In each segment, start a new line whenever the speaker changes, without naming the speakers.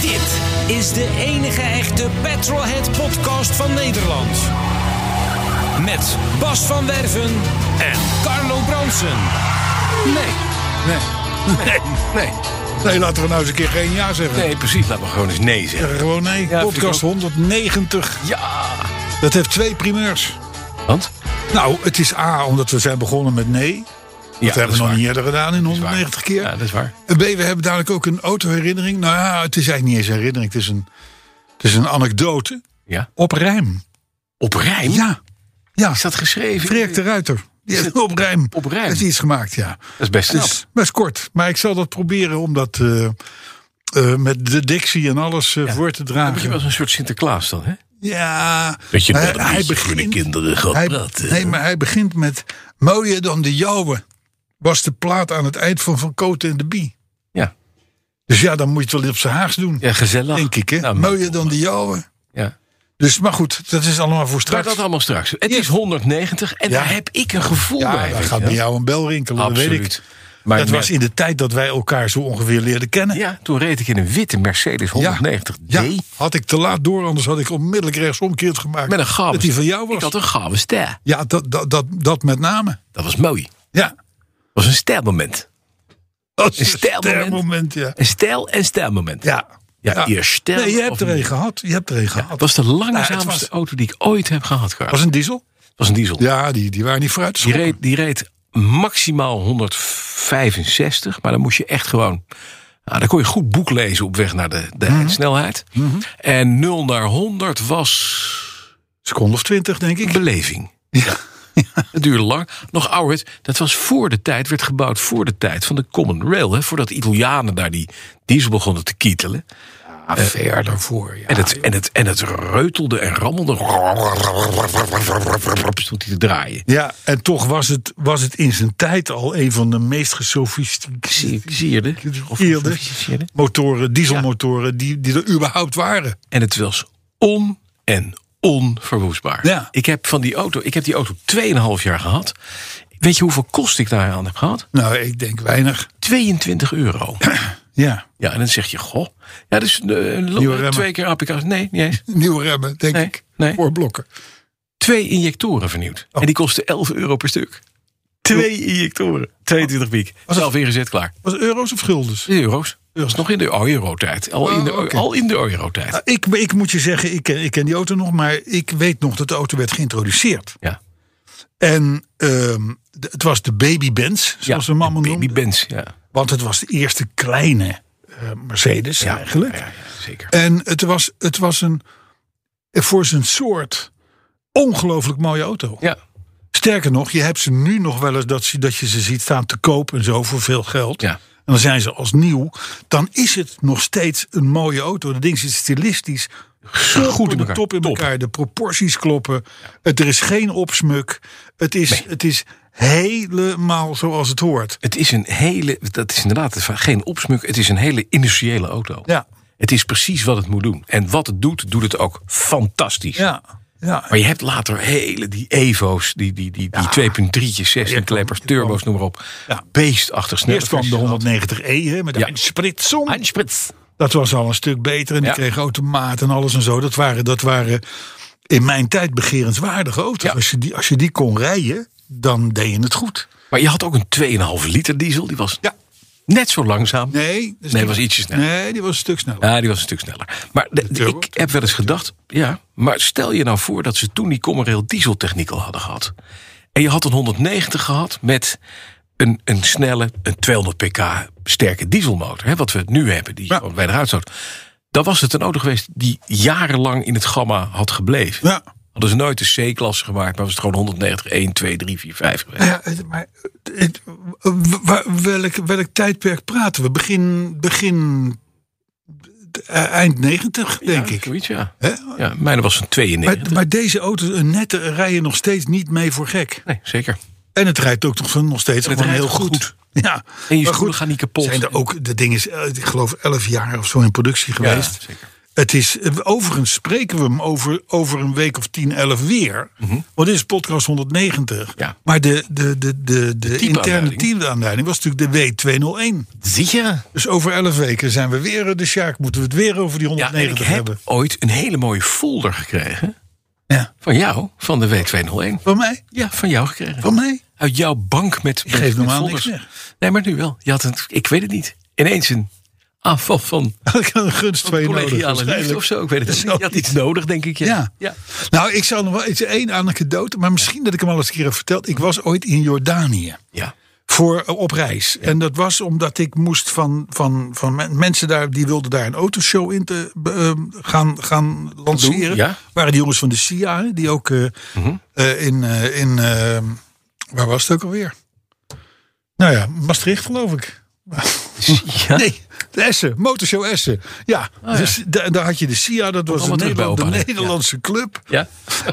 Dit is de enige echte Petrolhead podcast van Nederland. Met Bas van Werven en Carlo Bronsen.
Nee. Nee. Nee. Nee.
Nee, laten we nou eens een keer geen ja zeggen.
Nee, precies. Laten we gewoon eens nee zeggen.
Eh, Gewoon nee.
Ja, vind
Podcast
ik
190.
Ja.
Dat heeft twee primeurs.
Want?
Nou, het is A, omdat we zijn begonnen met nee.
Ja,
dat hebben
is
we nog
waar.
niet eerder gedaan in
waar.
190 keer.
Ja, dat is waar.
En B, we hebben dadelijk ook een autoherinnering. Nou ja, het is eigenlijk niet eens een herinnering. Het is een, het is een anekdote
Ja.
op rijm.
Op rijm?
Ja, ja.
Is dat geschreven?
Freek de Ruiter. Die heeft op rijm.
Op rijm.
Heeft hij iets gemaakt, ja.
Dat is best
Het
knap.
is best kort. Maar ik zal dat proberen om dat eh, eh, met de dictie en alles eh, voor te
Dan word je
dragen.
wel eens een soort Sinterklaas dan, hè?
Ja,
Dat je
hij-
daar een
hij
beetje voor de kinderen gaat
hij-
praten.
Nee, maar hij begint met mooier dan de jouwe was de plaat aan het eind van Van Koten en de Bie.
Ja.
Dus ja, dan moet je het wel op zijn haast doen,
Ja, gezellig.
denk ik. Hè?
Nou,
mooier dan de jouwe.
Ja.
Dus, maar goed, dat is allemaal voor
Maar
straks.
dat allemaal straks. Het is 190 en
Ja.
daar heb ik een gevoel
ja,
bij.
dan
weet
gaat
je
bij
wel.
jou een bel rinkelen, dat weet
Absoluut.
ik.
Maar
dat
ik
was
merk-
in de tijd dat wij elkaar zo ongeveer leerden kennen.
Ja, toen reed ik in een witte Mercedes 190D.
Ja, had ik te laat door, anders had ik onmiddellijk rechtsomkeerd gemaakt.
Met een gave
Dat die van jou was.
Ik had een gave ster.
Ja, dat, dat, dat, dat met name.
Dat was mooi.
Ja.
Dat was een stermoment.
Dat is
Een stijlmoment.
stijlmoment, ja.
Een stijl- en stermoment.
Ja.
Ja, je stijl
Nee, je
of
hebt er een
niet?
gehad. Je hebt er een gehad.
Dat was de langzaamste
Nou, het was-
auto die ik ooit heb gehad, Carl.
was een diesel?
Het was een diesel.
Ja, die, die waren niet vooruit. te
Die,
schoppen.
reed, die reed maximaal 165, maar dan moest je echt gewoon... Nou, dan kon je goed boek lezen op weg naar de, de
Mhm.
snelheid. En 0 naar 100 was
Seconde of twintig, denk ik.
beleving. Ja. Het duurde lang. Nog ouder, dat was voor de tijd, werd gebouwd voor de tijd van de Common Rail. Hè, voordat de Italianen daar die diesel begonnen te kietelen.
Ah, ver daarvoor, ja.
En het, en, het, en het reutelde en rammelde. Stond hij te draaien.
Ja, en toch was het, was het in zijn tijd al een van de meest gesofisticeerde
Sierde.
motoren, dieselmotoren, die, die er überhaupt waren.
En het was on- en onverwoestbaar.
Ja.
Ik heb van die auto, ik heb die auto 2,5 jaar gehad. Weet je hoeveel kost ik daar aan heb gehad?
Nou, ik denk weinig.
22 euro.
Ja,
Ja, en dan zeg je, goh. Ja, dus eh, lo-
Nieuwe remmen.
twee keer applicatie. Nee, niet eens.
nieuwe remmen, denk
Nee,
ik.
nee.
Voor Oh. blokken.
Twee injectoren vernieuwd. En die kosten 11 euro per stuk. Twee injectoren. 22 piek. Zelf ingezet, klaar.
Was het euro's of guldens?
Euro's. Dat is nog in de oh, euro-tijd. Al, in de-
Oh, oké.
al in de euro-tijd.
Nou, Ik, ik moet je zeggen, ik, ken- ik ken die auto nog, maar ik weet nog dat de auto werd geïntroduceerd.
Ja.
En ehm, de- het was de Baby Benz, zoals
ja,
we hem allemaal
Baby
noemden.
Benz, ja.
Want het was de eerste kleine eh, Mercedes eigenlijk.
Ja, ja, zeker.
En het was, het was een, voor zijn soort, ongelooflijk mooie auto.
Ja.
Sterker nog, je hebt ze nu nog wel eens dat, ze- dat je ze ziet staan te koop en zo voor veel geld.
Ja.
En dan zijn ze als nieuw. Dan is het nog steeds een mooie auto. Dat ding zit stilistisch goed
in
in
elkaar.
top in
Top.
elkaar. De proporties kloppen. Het, er is geen opsmuk. Het is, het is helemaal zoals het hoort.
Het is een hele, dat is inderdaad het verhaal, geen opsmuk. Het is een hele industriële auto.
Ja.
Het is precies wat het moet doen. En wat het doet, doet het ook fantastisch.
Ja, ja.
Maar je hebt later hele die Evo's, die, die, die, die 2.3'tjes, 16 kleppers, turbo's, noem maar op.
Ja.
Beestachtig snel.
Eerst kwam de 190e hè, met
Ja.
een spritsong.
Einspritz.
Dat was al een stuk beter. En
Ja.
die kreeg automaat en alles en zo. Dat waren, dat waren in mijn tijd begerenswaardige auto's.
Ja.
Als, je die, als je die kon rijden, dan deed je het goed.
Maar je had ook een 2,5 liter diesel. Die was
Ja.
net zo langzaam.
Nee, dat is
Nee,
niet-
was ietsje sneller.
Nee, die was een stuk sneller.
Ja, die was een stuk sneller. Maar de- de-
turbo?
ik heb wel eens gedacht, ja, maar stel je nou voor dat ze toen die Commerail dieseltechniek al hadden gehad. En je had een 190 gehad met een, een snelle, een 200 pk sterke dieselmotor. Hè, wat we nu hebben, die
Ja.
gewoon bij de uitstoot. Dan was het een auto geweest die jarenlang in het gamma had gebleven.
Ja.
Hadden ze nooit de C-klasse gemaakt, maar was het gewoon 190, 1, 2, 3, 4, 5 geweest.
Ja, het- maar het- w- waar- welk, welk tijdperk praten we? Begin, begin eh, eind 90, denk
Ja,
ik.
Zoiets, ja.
Hè?
ja. Mijne was een 92.
Maar, maar deze auto's, een nette, rijden nog steeds niet mee voor gek.
nee, zeker.
En het rijdt ook nog, nog steeds
Het
gewoon
rijdt
heel
gewoon
goed. Ja.
En je
Maar
schoenen gaan niet kapot.
Zijn er ook, dat ding is, eh, ik geloof, 11 jaar of zo in productie
Ja,
geweest.
zeker.
Het is, eh, overigens spreken we hem over, over een week of 10, 11 weer. Want dit is podcast 190.
Mhm. Ja.
Maar de, de, de, de, de, interne
typeaanleiding.
teamaanleiding was natuurlijk de W201.
Zie je?
Dus over 11 weken zijn we weer eh, de Sjaak. Moeten we het weer over die
Ja, en ik
190
heb
hebben?
ooit een hele mooie folder gekregen.
Ja.
Van jou, van de W201.
Van mij?
Ja, van jou gekregen.
Van mij?
Uit jouw bank met.
Ik geef normaal niks
folders.
weg.
Nee, maar nu wel. Je had een, ik weet het niet. Ineens een aanval van
Ik had een gunst van je nodig.
collegiale liefde
waarschijnlijk.
of zo. Ik weet het niet. Je had iets nodig, denk ik. Ja.
Ja. Nou, ik zal nog wel iets één anekdote, maar misschien dat ik hem al eens een keer heb verteld. Ik was ooit in Jordanië
Ja.
voor, eh, op reis. En dat was omdat ik moest van, van, van men- mensen daar, die wilden daar een autoshow in te, be- ehm, gaan, gaan lanceren.
Doen, ja. Mhm.
Waren die jongens van de CIA, hè, die ook eh, eh, in, eh, in ehm, waar was het ook alweer? Nou ja, Maastricht geloof ik.
Ja.
Nee, de Essen, Motorshow Essen. Ja, dus da- daar had je de CIA, dat was de,
Ah, allemaal terug bij
Nederland- de
opa, hè?
Nederlandse club.
Ja.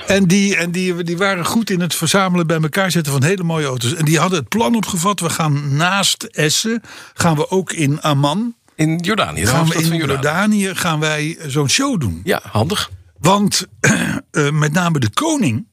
En, die, en die, die waren goed in het verzamelen bij elkaar zetten van hele mooie auto's. En die hadden het plan opgevat. We gaan naast Essen, gaan we ook in Amman,
In Jordanië. de
gaan we
hoofdstad
in
van Jordanië.
Jordanië, gaan wij zo'n show doen.
Ja, handig.
Want eh, met name de koning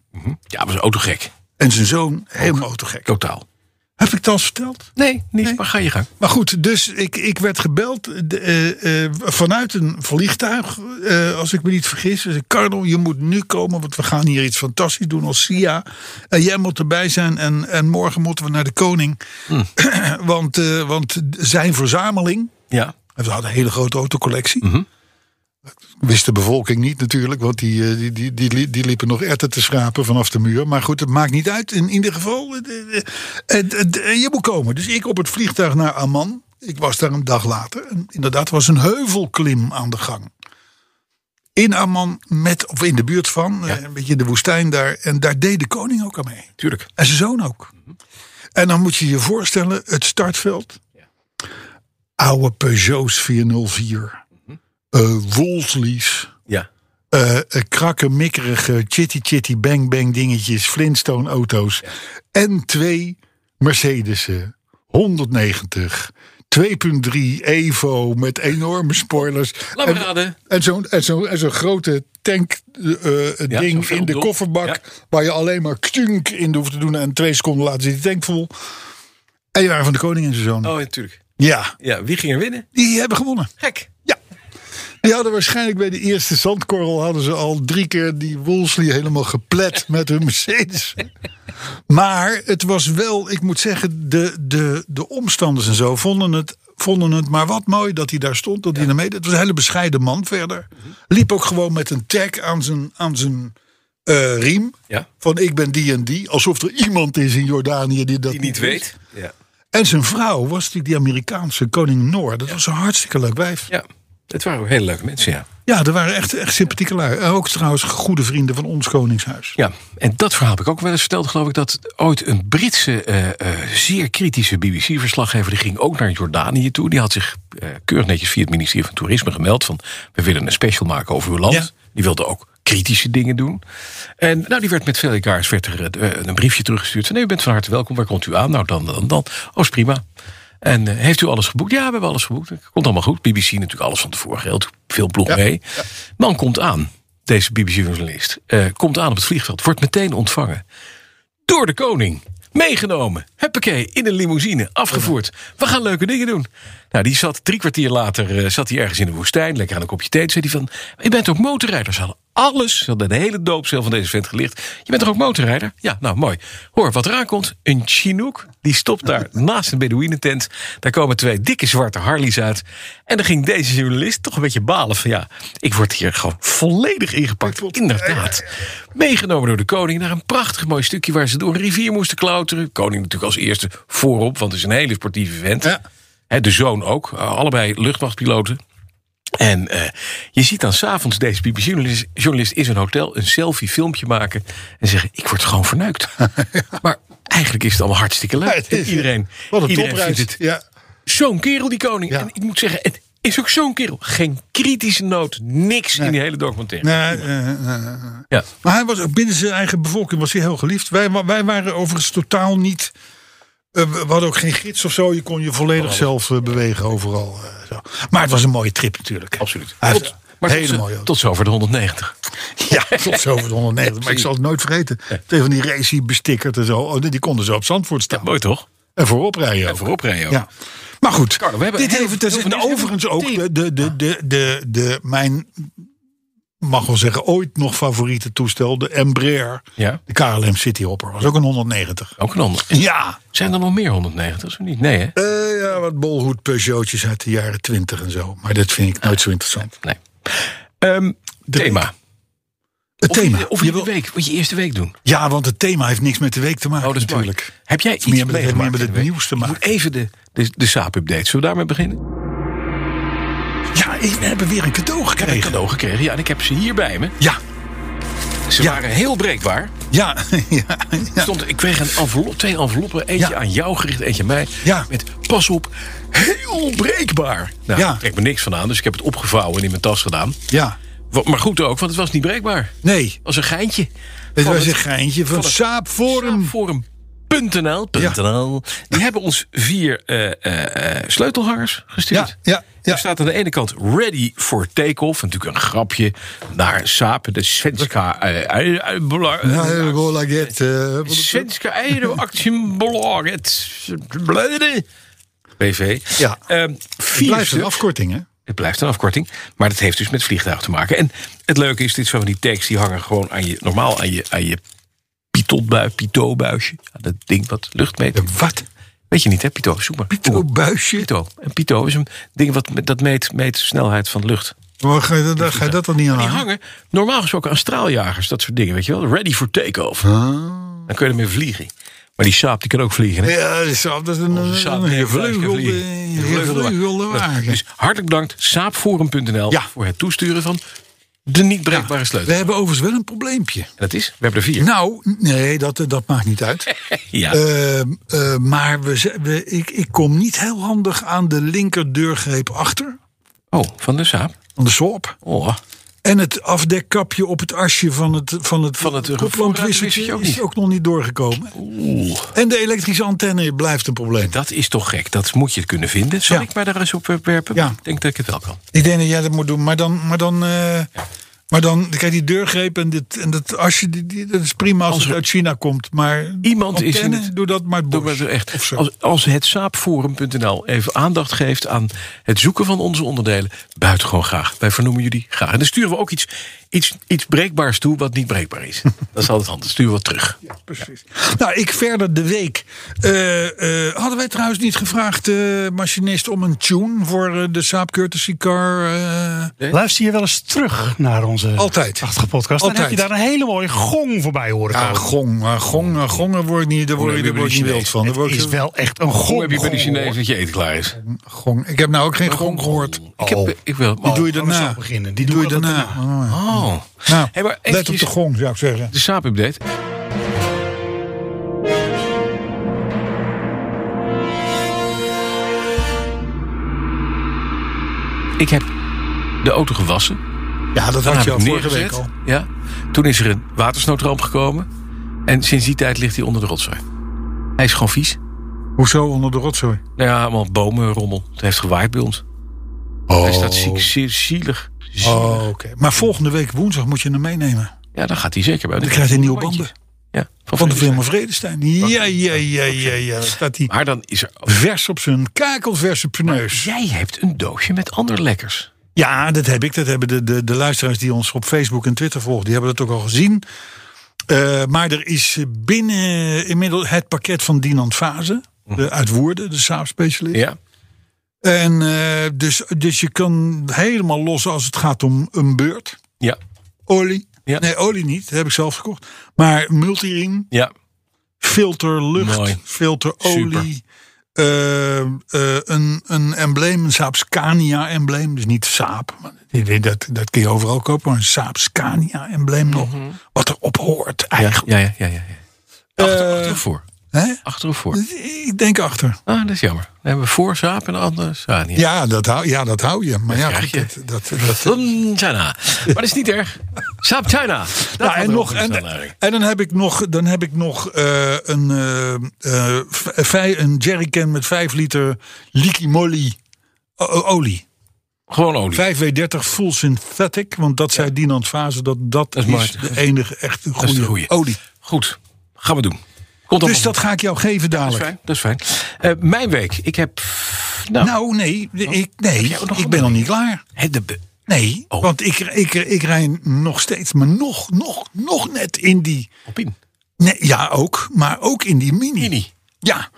Ja, was een autogek.
en zijn zoon, helemaal autogek.
Totaal.
Heb ik het al eens verteld?
Nee, niet. Maar ga je gang.
Maar goed, dus ik, ik werd gebeld de, eh, eh, vanuit een vliegtuig, eh, als ik me niet vergis. Dus Carlo, je moet nu komen, want we gaan hier iets fantastisch doen als SIA. En jij moet erbij zijn en, en morgen moeten we naar de koning. want, eh, want zijn verzameling,
Ja.
en we hadden een hele grote autocollectie. Wist de bevolking niet natuurlijk, want die, eh, die, die, die, li- die liepen nog erten te schrapen vanaf de muur. Maar goed, het maakt niet uit. In ieder geval, eh, eh, eh, eh, eh, je moet komen. Dus ik op het vliegtuig naar Amman. Ik was daar een dag later. En inderdaad, er was een heuvelklim aan de gang. In Amman, met, of in de buurt van, eh, een beetje in de woestijn daar. En daar deed de koning ook aan mee.
Tuurlijk.
En zijn zoon ook.
Mhm.
En dan moet je je voorstellen, het startveld. Oude Peugeots 404.
Mhm.
eh Wolseley's.
Ja.
eh, eh, krakken, mikkerige, chitty chitty bang bang dingetjes. Flintstone auto's. En twee eh, Mercedes'en. 190. 2.3 Evo met enorme spoilers.
Laat me
En-
raden.
en zo'n en zo, en zo'n grote tank eh, eh,
Ja,
ding
zo'n
in de
vuldoek.
kofferbak.
Ja.
Waar je alleen maar ktunk in hoeft te doen. En twee seconden later zit die tank vol. En je waren van de koning en zijn zoon.
Oh, natuurlijk.
Ja,
Ja, wie ging er winnen?
die hebben gewonnen.
Gek.
Ja. Die hadden waarschijnlijk bij de eerste zandkorrel hadden ze al drie keer die Wolseley helemaal geplet met hun Mercedes. Maar het was wel, ik moet zeggen, de, de, de omstanders en zo vonden het, vonden het maar wat mooi dat hij daar stond, dat hij naar meedeed. Het was een hele bescheiden man verder. Liep ook gewoon met een tag aan zijn, aan zijn eh, riem.
Ja.
Van ik ben die en die. Alsof er iemand is in Jordanië die dat
Die niet
wist.
weet. Ja.
En zijn vrouw was natuurlijk die Amerikaanse koning Noor. Dat was een hartstikke leuk wijf.
Ja. Het waren ook hele leuke mensen, ja.
Ja, er waren echt, echt sympathieke lui. En ook trouwens goede vrienden van ons koningshuis.
Ja, en dat verhaal heb ik ook wel eens verteld, geloof ik, dat ooit een Britse, eh, eh, zeer kritische BBC-verslaggever, die ging ook naar Jordanië toe. Die had zich eh, keurig netjes via het ministerie van Toerisme gemeld van, we willen een special maken over uw land.
Ja.
Die wilde ook kritische dingen doen. En nou, die werd met veel elkaars werd er eh, een briefje teruggestuurd. Van, nee, u bent van harte welkom, waar komt u aan? Nou, dan, dan, dan. Oh, is prima. En eh, heeft u alles geboekt? Ja, we hebben alles geboekt. Komt allemaal goed. BBC natuurlijk alles van tevoren. Heel veel blog mee. Man komt aan, deze BBC-journalist. eh, komt aan op het vliegveld. Wordt meteen ontvangen. Door de koning. Meegenomen. Huppakee. In een limousine. Afgevoerd. We gaan leuke dingen doen. Nou, die zat drie kwartier later eh, zat hij ergens in de woestijn. Lekker aan een kopje thee. Toen zei hij van, je bent ook motorrijder. Ze hadden alles, ze hadden de hele doopcel van deze vent gelicht. Je bent toch ook motorrijder? Ja, nou mooi. Hoor, wat eraan komt, een Chinook. Die stopt daar naast een Bedouinentent. Daar komen twee dikke zwarte Harleys uit. En dan ging deze journalist toch een beetje balen van... ja, ik word hier gewoon volledig ingepakt. Inderdaad. Meegenomen door de koning naar een prachtig mooi stukje... waar ze door een rivier moesten klauteren. Koning natuurlijk als eerste voorop, want het is een hele sportieve vent.
Ja.
Hè, de zoon ook, eh, allebei luchtmachtpiloten. En eh, je ziet dan s'avonds deze BBC-journalist journalist in zijn hotel een selfie-filmpje maken. En zeggen: Ik word gewoon verneukt. Maar eigenlijk is het allemaal hartstikke
Ja,
leuk.
het is-
iedereen
Wat een
iedereen
topreis.
vindt het
Ja.
zo'n kerel, die koning.
Ja.
En ik moet zeggen: Het is ook zo'n kerel. Geen kritische noot, niks in die hele documentaire.
Nee, eh, eh, eh.
Ja.
Maar hij was ook binnen zijn eigen bevolking was hij heel geliefd. Wij, wa- wij waren overigens totaal niet. eh, we we hadden ook geen gids of zo. Je kon je volledig zelf eh, bewegen overal. eh, zo. Maar het was een mooie trip natuurlijk.
Absoluut.
Hij
Tot-
heeft-
Maar
Hele
tot, zo-
mooie auto.
tot zover de 190.
Ja, tot zover de 190. Maar ik zal het nooit vergeten. Twee van die racy bestickerd en zo. Oh, nee, die konden zo op Zandvoort staan.
Mooi toch?
En voorop rijden. ook.
Voorop rijden.
Ja. Maar goed,
Carlo, we hebben
dit
heel-
heeft het
heel veel
en
nieuws.
overigens ook
Tien.
de, de, de, de, de, de- mijn, mag wel zeggen, ooit nog favoriete toestel, de Embraer.
Ja.
De KLM Cityhopper was ook een 190.
Ook een ander.
Ja.
Zijn er nog meer 190's of niet? Nee, hè?
Eh, ja, wat bolhoed Peugeotjes uit de jaren 20 en zo. Maar dat vind ik nooit zo interessant.
Nee. Ehm, thema.
Het
Of
thema.
je- Of
Je
je de
wil-
week. Wat je eerste week doen.
ja, want het thema heeft niks met de week te maken
Oh, dat is mooi.
natuurlijk.
Heb jij iets
meer met-
meegemaakt
meer met
in
het
de week?
nieuws te
Ik moet
maken.
Even de, de, de saap-update. Zullen we daarmee beginnen?
Ja, ik- we hebben weer een cadeau
Ik heb
gekregen.
cadeau gekregen. Ja, en ik heb ze hier bij me.
Ja,
Ze
Ja.
waren heel breekbaar.
ja, ja, ja.
Stond, ik kreeg een envelop, twee enveloppen. Eentje
Ja.
aan jou gericht, eentje aan mij.
Ja.
Met pas op, heel breekbaar. Nou,
Ja.
ik trek me niks van aan, dus ik heb het opgevouwen en in mijn tas gedaan.
ja.
Wa- Maar goed ook, want het was niet breekbaar. Het
Nee,
was een geintje.
het
Van
was een geintje van
van het-
Saapforum.
Saapforum.nl. .nl. Die hebben ons vier eh, eh, eh, sleutelhangers gestuurd.
Ja, ja, ja.
Er staat aan de ene kant ready for take-off. Natuurlijk een grapje naar Saap, de Svenska... eh, eh, eh, bla-
Ja, eh, Golaget, eh,
Svenska Eideroactienbolaget. BV.
Ja.
Ehm,
Het
vier
blijft een
stuks.
afkorting, hè?
Het blijft een afkorting. Maar dat heeft dus met vliegtuig te maken. En het leuke is, dit zijn van die tags die hangen gewoon aan je, normaal aan je, aan je pitotbui, pitobuisje. Aan dat ding wat lucht meet.
Wat?
Weet je niet, hè, pito? Zoek maar.
Pito buisje.
Pito. En pito is een ding wat, met- dat meet, meet snelheid van lucht.
Maar ga je, dat- ga je dat dan niet aan
Die
hangen?
hangen normaal gesproken aan straaljagers, dat soort dingen, weet je wel. Ready for takeoff.
Ah.
Dan kun je ermee vliegen. Maar die saap die kan ook vliegen, hè?
Ja, dat is, dat is een,
Onze Saab
een
heeft vleugel-
gevleugelde
vliegen. Gevleugelde wagen.
gevleugelde wagen.
Dus hartelijk bedankt saapforum.nl
Ja.
voor het toesturen van de niet breekbare sleutel.
We hebben overigens wel een probleempje.
En dat is, we hebben er vier.
Nou, nee, dat, eh, dat maakt niet uit.
ja.
Ehm, eh, maar we, z- we, ik, ik kom niet heel handig aan de linkerdeurgreep achter.
oh, van de saap.
Van de soap.
Oh,
En het afdekkapje op het asje van het, van het,
Van het
koplampwisseltje
voorraadwisseltje ook
is
niet.
ook nog niet doorgekomen.
oeh.
En de elektrische antenne blijft een probleem.
Dat is toch gek. Dat moet je kunnen vinden. Zal
Ja.
ik mij daar eens op eh, werpen?
Ja.
Ik denk dat ik het wel kan.
Ik denk dat jij dat moet doen, maar dan. Maar dan, eh, maar dan kijk, die deurgreep en, dit, en dat asje, die, die, dat is prima als,
Als
het
er-
uit China komt. Maar
Iemand is in het-
doe dat maar het
Doe maar
bos.
zo
Of
echt.
zo.
Als, als het saapforum.nl even aandacht geeft aan het zoeken van onze onderdelen, buitengewoon graag. Wij vernoemen jullie graag. En dan sturen we ook iets, iets, iets breekbaars toe wat niet breekbaar is. Dat is altijd handig. Sturen we wat terug.
Precies. Nou, ik verder de week. eh, eh, hadden wij trouwens niet gevraagd, eh, machinist, om een tune voor eh, de Saab Courtesy Car? eh,
Luister je wel eens terug naar onze
Altijd.
prachtige podcast? Dan heb je
Altijd.
daar een hele mooie gong voorbij horen
ja,
Nou,
komen.
gong, eh, gong, eh, gong, daar word ik niet, daar word,
heb
ik- daar
je bij
word
de
ik niet wild
Chinezen?
van. Daar
Het
word ik-
is wel echt een gong.
Hoe heb je bij de
gong,
Chinezen dat je eten klaar is?
gong. Ik heb nou ook geen gong gehoord.
Ik heb, eh, ik wil,
Die doe je
hoor. Laten we
daarna.
zo beginnen.
Die doe je daarna.
Oh.
Nou,
Hey, maar
let op
eventjes-
de gong, zou ik zeggen.
De saap-update. Ik heb de auto gewassen.
Ja, dat
Daarna
had je
heb
al
ik
vorige week
neergezet.
al.
Ja. Toen is er een watersnoodramp gekomen. En sinds die tijd ligt hij onder de rotzooi. Hij is gewoon vies.
Hoezo onder de rotzooi?
Nou ja, allemaal bomenrommel. Het heeft gewaaid bij ons.
Oh,
Hij staat ziek, zeer zielig. Zielig.
Oh, oké. Maar volgende week woensdag moet je hem meenemen.
Ja, daar gaat hij zeker bij.
Dan krijgt hij nieuwe banden.
Ja,
Van de
Vredestein.
firma Vredestein. Ja, ja, ja, ja, ja. Dan staat hij
Maar dan is er...
vers op zijn kakel, vers op zijn neus.
Jij hebt een doosje met ander lekkers.
Ja, dat heb ik. Dat hebben de, de, de luisteraars die ons op Facebook en Twitter volgen. Die hebben dat ook al gezien. Eh, maar er is eh, binnen inmiddels het pakket van Dinant Fase. De, eh, uit Woerden, de Saab-specialist.
Mhm. Ja.
En eh, dus, dus je kan helemaal los als het gaat om een beurt.
Ja.
Olie.
Ja.
Nee, olie niet. Dat heb ik zelf gekocht. Maar multiring,
Ja.
filter lucht,
Mooi.
filter
Super.
olie. eh, eh, een, een embleem, een Saab Scania embleem. Dus niet Saab. maar die- Dat, dat kun je overal kopen. Maar een Saab Scania embleem
Mhm.
nog. Wat erop hoort eigenlijk.
Ja, ja, ja. ja, ja. Achter,
Eh.
achter of voor?
Hè?
Achter of voor?
Ik denk achter.
Ah, dat is jammer. Dan hebben we voor Saap en de andere Sania.
Ja, dat hou, ja, dat hou je. Maar ja,
krijg
goed,
je.
dat, dat, dat,
Mm, China. Maar dat is niet erg. Saap China. Dat
Nou,
had
en,
er
nog,
ook een
en,
aanleiding.
en dan heb ik nog, dan heb ik nog eh, een, eh, eh, v- vij- een jerrycan met 5 liter liquimolly o- o- olie.
Gewoon olie.
5W30 full synthetic, want dat zei Dinant Fase dat dat,
Dat is
is,
mooi.
de enige echt
dat is de
goede,
goeie.
olie.
Goed, gaan we doen. Komt
Dus
allemaal
dat ga ik jou geven
goed.
dadelijk.
dat is fijn. Eh, mijn week. Ik heb. Nou,
Nou, nee, ik, nee,
jij ook nog
ik
een
ben nog niet klaar.
hè, de-
Nee,
Oh.
want ik, ik, ik rij nog steeds, maar nog, nog, nog net in die...
Alpine.
Nee, ja, ook, maar ook in die mini.
Mini.
Ja.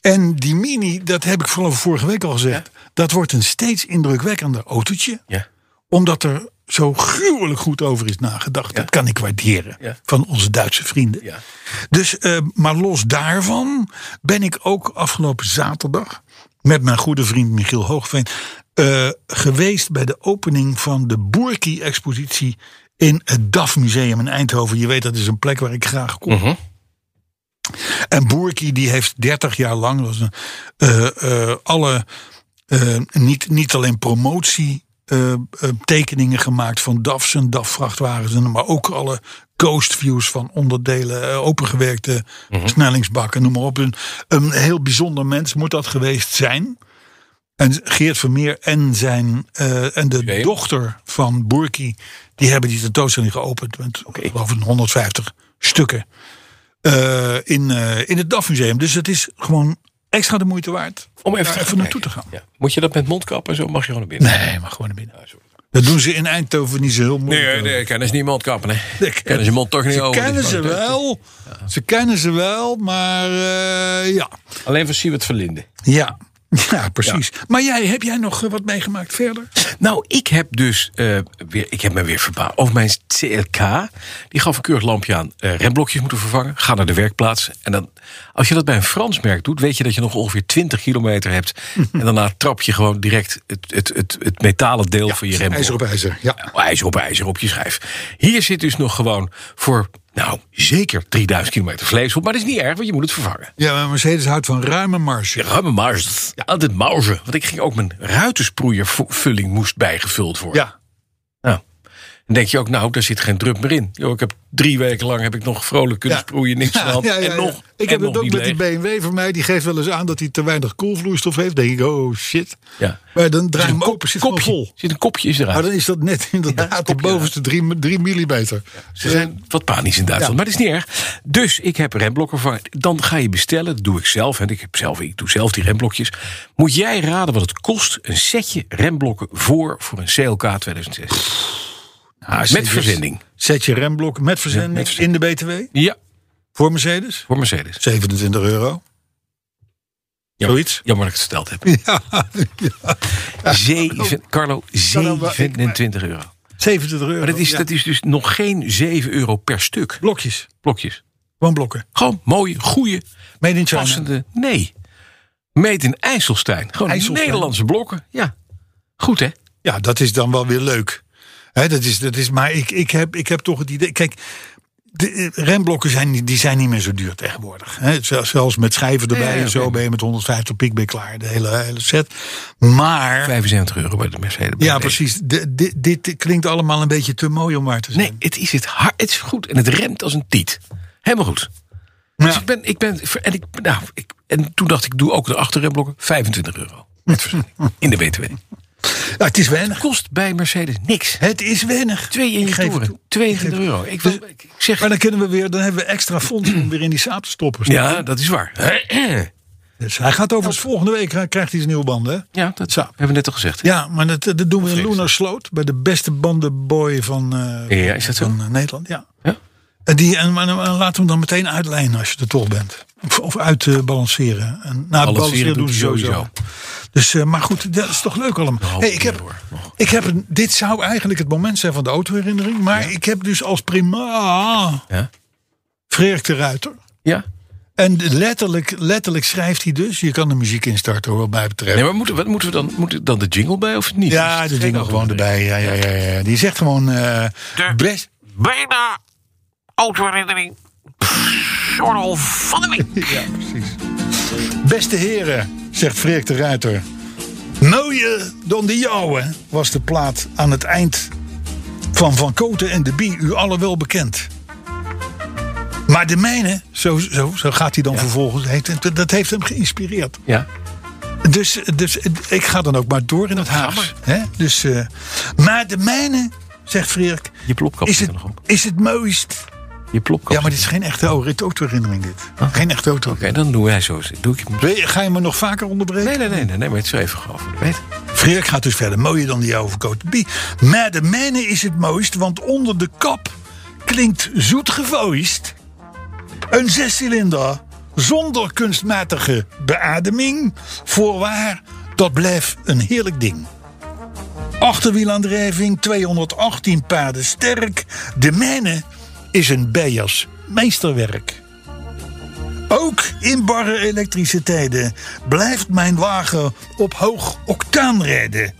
En die mini, dat heb ik vooral vorige week al gezegd... dat wordt een steeds indrukwekkender autootje.
Ja.
Omdat er zo gruwelijk goed over is nagedacht. Dat kan ik waarderen
Ja.
van onze Duitse vrienden.
Ja.
Dus, eh, maar los daarvan ben ik ook afgelopen zaterdag... met mijn goede vriend Michiel Hoogveen... eh, geweest bij de opening van de Boerki-expositie... in het DAF Museum in Eindhoven. Je weet, dat is een plek waar ik graag kom. En Boerki die heeft 30 jaar lang was een, eh, eh, alle, eh, niet, niet alleen promotie. eh, eh, tekeningen gemaakt van DAF's en DAF-vrachtwagens, en- maar ook alle coast views van onderdelen, eh, opengewerkte snellingsbakken, noem maar op. Een, een heel bijzonder mens moet dat geweest zijn. En Geert Vermeer en, zijn, eh, en de
Oké.
dochter van Boerki, die hebben die tentoonstelling geopend met geloof ik 150 stukken eh, in, eh, in het DAF-museum. Dus het is gewoon extra de moeite waard
Om even,
daar
te gaan
even naartoe te
kijken.
gaan.
Ja. Moet je dat met mondkap en zo? Mag je gewoon naar binnen?
Nee, maar gewoon naar binnen. Dat doen ze in Eindhoven niet zo heel moeilijk.
Nee, nee, kennen ze niet mondkappen. Hè. Kennen ze mond toch niet
Ze
over.
kennen ze wel. Ze kennen ze wel, maar eh, ja.
Alleen van Siewert Verlinde.
Ja. Ja, precies. Maar jij, heb jij nog eh, wat meegemaakt verder?
Nou, ik heb dus eh, weer, ik heb me weer verbaasd. Over mijn CLK, die gaf een keurig lampje aan. eh, remblokjes moeten vervangen. Ga naar de werkplaats. En dan, als je dat bij een Frans merk doet, weet je dat je nog ongeveer 20 kilometer hebt.
Mhm.
en daarna trap je gewoon direct het, het, het, het metalen deel van je remblok.
IJzer op ijzer, ja.
Oh, ijzer op ijzer op je schijf. Hier zit dus nog gewoon voor, nou, zeker 3000 kilometer vlees op. Maar dat is niet erg, want je moet het vervangen.
Ja, maar Mercedes houdt van ruime marge.
Ruime marge. Altijd marge. Want ik ging ook mijn ruitensproeiervulling moest bijgevuld worden.
Ja.
Nou, dan denk je ook, nou, daar zit geen druk meer in. Yo, ik heb drie weken lang heb ik nog vrolijk kunnen
Ja.
sproeien, niks
Ja,
gehad.
ja, ja,
en
ja.
nog, en
ik heb
nog
het ook
niet
met die
leeg.
BMW van mij. Die geeft wel eens aan dat hij te weinig koelvloeistof heeft. Dan denk ik, oh shit.
Ja.
Maar dan draai
Er
je
zit
hem open, zit gewoon
kopje,
vol.
zit een kopje is eruit.
Maar Ah, dan is dat net inderdaad de bovenste 3 millimeter.
Ze zijn wat panisch in Duitsland, maar dat is niet erg. Dus ik heb remblokken vervangen. Dan ga je bestellen, dat doe ik zelf. En ik, heb zelf, ik doe zelf die remblokjes. Moet jij raden wat het kost? Een setje remblokken voor, voor een CLK 2006.
Nou,
met verzending.
Zet je remblok met verzending,
met verzending.
in de BTW
Ja,
voor Mercedes.
voor Mercedes.
27 euro.
Jammer,
Zoiets?
Jammer dat ik het verteld heb.
Ja,
Zeven, Carlo,
Carlo, maar ik-
27 euro.
27 euro.
Maar dat is,
Ja.
dat is dus nog geen 7 euro per stuk.
blokjes.
Blokjes.
Gewoon blokken.
Gewoon mooie, goede,
Made in China.
passende. Nee. Meet in IJsselstein. Gewoon
IJsselstein.
Nederlandse blokken. Ja. Goed hè?
Ja, dat is dan wel weer leuk. Hè, dat is, dat is, maar ik, ik, heb, ik heb toch het idee. Kijk, de, eh, remblokken zijn, niet- die zijn niet meer zo duur tegenwoordig. Hè. Zelfs, zelfs met schijven erbij
Ja, ja,
en zo
oké.
ben je met 150 piek ben je klaar. De hele, hele set. Maar.
75 euro bij de Mercedes.
ja, precies. De, dit, dit klinkt allemaal een beetje te mooi om waar te zijn.
Nee, het is, het, hard, het is goed. En het remt als een tiet. Helemaal goed. Dus
Ja.
ik ben, ik ben, en, ik, nou, ik, en toen dacht ik, doe ook de achterremblokken. 25 euro. Met verzending. In de BTW.
Ja, het is weinig.
Kost bij Mercedes niks.
Het is weinig.
Twee in
Ik
je
geef het
toeren.
toe. Dus-
22 euro. Ik, wil, ik zeg
Maar dan kunnen we weer, dan hebben we extra fondsen om weer in die saap te stoppen.
Ja, dat is waar.
Dus hij gaat overigens volgende week hij krijgt hij zijn nieuwe banden. Hè?
Ja, dat
Zo.
hebben we net al gezegd.
Ja, maar dat, eh, dat doen we in
Vrees.
Luna Sloot. Bij de beste bandenboy van, eh,
Ja, is dat zo?
van eh, Nederland. Ja.
Ja?
En, die, en, maar, maar laat hem dan meteen uitlijnen als je er toch bent. Of, of uit eh, balanceren. En, nou, balanceren, doen ze
doet hij
sowieso. Dus, eh, maar goed, dat is toch leuk allemaal.
half
Hey, ik
uur
heb,
door, nog.
ik heb een, dit zou eigenlijk het moment zijn van de autoherinnering. Maar ik heb dus als prima
Ja?
Frederik de Ruiter.
ja?
En letterlijk, letterlijk schrijft hij dus. Je kan de muziek instarten hoor, wat mij betreft.
Nee, maar moeten, we- wat moeten we dan, moet er dan de jingle bij of niet?
Ja, de jingle gewoon erbij. Ja, ja, ja, ja. Die zegt gewoon. eh, best,
bijna autoherinnering. oh, Jornal van de week.
beste heren, zegt Freek de Ruiter. Mooier dan de jouwe was de plaat aan het eind van Van Koten en de Bie, u allen wel bekend. Maar de mijne, zo, zo, zo gaat hij dan vervolgens, heeft, dat heeft hem geïnspireerd.
Ja.
Dus, dus ik ga dan ook maar door in het Haags. hè? Dus, eh, maar de mijne, zegt Frederik,
Je plopkap
is
zit
het,
er nog op.
is het mooist.
Je plopkap.
Ja, maar
zit
dit is geen echte au- autoherinnering dit. Geen echte auto.
er- Oké, dan doen wij zo. Doe ik...
Wil je- Ga je me nog vaker onderbreken?
Nee, nee, nee, nee, nee, maar het is even gewoon voor de weet.
Frederik gaat dus verder. Mooier dan die overcoat. Bie. Maar de mijne is het mooist, want onder de kap klinkt zoet gevoist. Een zescilinder zonder kunstmatige beademing. Voorwaar, dat blijft een heerlijk ding. Achterwielaandrijving, 218 paarden sterk. De mijne is een bijers meesterwerk. Ook in barre elektrische tijden blijft mijn wagen op hoog octaan rijden.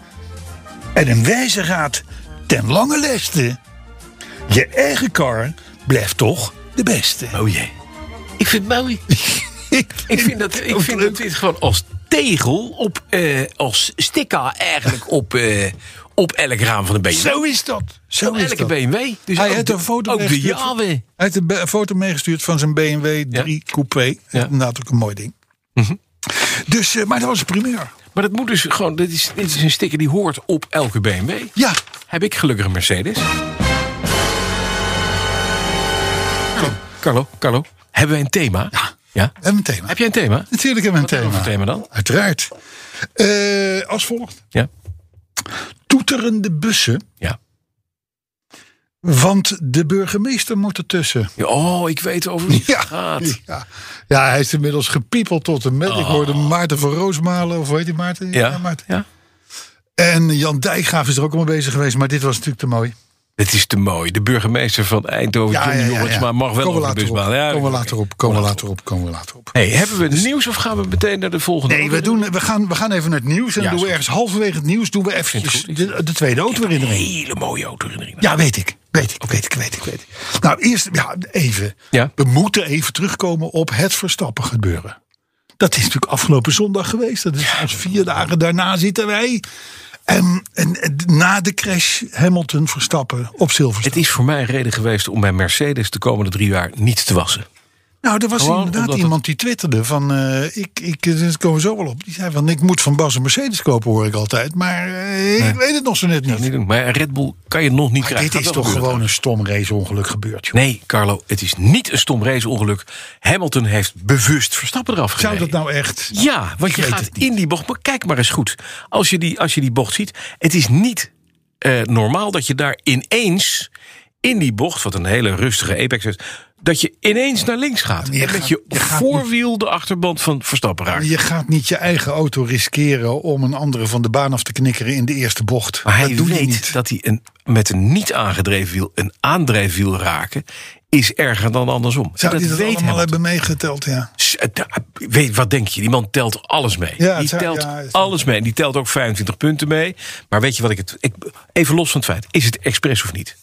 En een wijze raad ten lange leste. Je eigen kar blijft toch de beste.
Oh jee. Ik vind het mooi. ik vind dat, ik vind dat dit gewoon als tegel op, eh, als stikka eigenlijk op, eh, op elk raam van een BMW.
Zo is dat. Zo
Op
is
elke
dat.
BMW. Dus
Hij
ook
heeft
de-
een foto
Ook de
meegestuurd.
Jave.
Hij heeft een be- foto meegestuurd van zijn BMW 3 Coupé. Inderdaad ook een mooi ding. Dus, eh, maar dat was een primeur.
Maar dat moet dus gewoon, dit is, dit is een sticker die hoort op elke BMW.
Ja,
Heb ik gelukkig een Mercedes. Carlo, Carlo, hebben wij een thema? Ja.
we hebben een thema.
Heb jij een thema?
Natuurlijk hebben we een thema.
Wat voor thema dan?
Uiteraard. Eh, als volgt.
Ja.
Toeterende bussen,
Ja.
want de burgemeester moet ertussen.
Ja, Oh, ik weet over wie het gaat. Oh.
Ja. ja, hij is inmiddels gepiepeld tot de met. Ik hoorde Maarten van Roosmalen, of hoe heet die Maarten?
Ja.
Maarten.
ja.
En Jan Dijkgraaf is er ook al mee bezig geweest, maar dit was natuurlijk te mooi.
Het is te mooi. De burgemeester van Eindhoven,
Ja,
Johnny
ja, ja,
Jorrits,
ja.
maar mag wel
Komen we
op de
later
busbaan.
op.
Ja,
Komen we
oké.
later op, komen we later op, komen we later op.
Hey, hebben we het nieuws of gaan we meteen naar de volgende?
Nee, we, doen, we, gaan, we gaan even naar het nieuws. En
Ja,
dan doen
is
we ergens halverwege het nieuws doen we eventjes
het goed.
de, de tweede autoherinnering.
Hele mooie autoherinnering.
Ja, weet ik. Weet ik, weet ik, weet ik, weet ik. Nou, eerst ja, even.
Ja.
We moeten even terugkomen op het Verstappen gebeuren. Dat is natuurlijk afgelopen zondag geweest. Dat is ons vier dagen daarna zitten wij. En, en, en na de crash Hamilton Verstappen op
Het
Silverstone.
is voor mij een reden geweest om mijn Mercedes de komende drie jaar niet te wassen.
Nou, er was
Gewoon
inderdaad
omdat
iemand die twitterde van... eh, ik, ik, eh, daar komen we zo wel op. Die zei van, ik moet van Bas een Mercedes kopen, hoor ik altijd. Maar eh, ik weet het nog zo net
Dat
niet.
niet doen. Maar een Red Bull kan je nog niet
Maar
krijgen.
dit is
Gaat wel
toch
gebeuren.
gewoon een stom raceongeluk gebeurd, joh.
Nee, Carlo, het is niet een stom raceongeluk. Hamilton heeft bewust Verstappen eraf gereden.
Zou dat nou echt...
Ja, want je
weet
gaat
het niet.
in die bocht. Maar kijk maar eens goed. Als je die, als je die bocht ziet, het is niet eh, normaal dat je daar ineens in die bocht, wat een hele rustige apex is, dat je ineens naar links gaat.
je
en met
gaat-
je,
je gaat
voorwiel de achterband van Verstappen raakt.
Je gaat niet je eigen auto riskeren om een andere van de baan af te knikkeren in de eerste bocht.
Maar hij
dat doe je
weet
niet.
dat hij een, met een niet aangedreven wiel een aandrijfwiel raken is erger dan andersom.
Zou
En
die dat
weet
allemaal
Hamilton.
hebben meegeteld? Ja.
S- eh, da- Weet, wat denk je? Die man telt alles mee.
Ja, het
die
zou-
telt
ja, het zou-
alles mee. En die telt ook 25 punten mee. Maar weet je wat ik het. Ik, even los van het feit: is het expres of niet?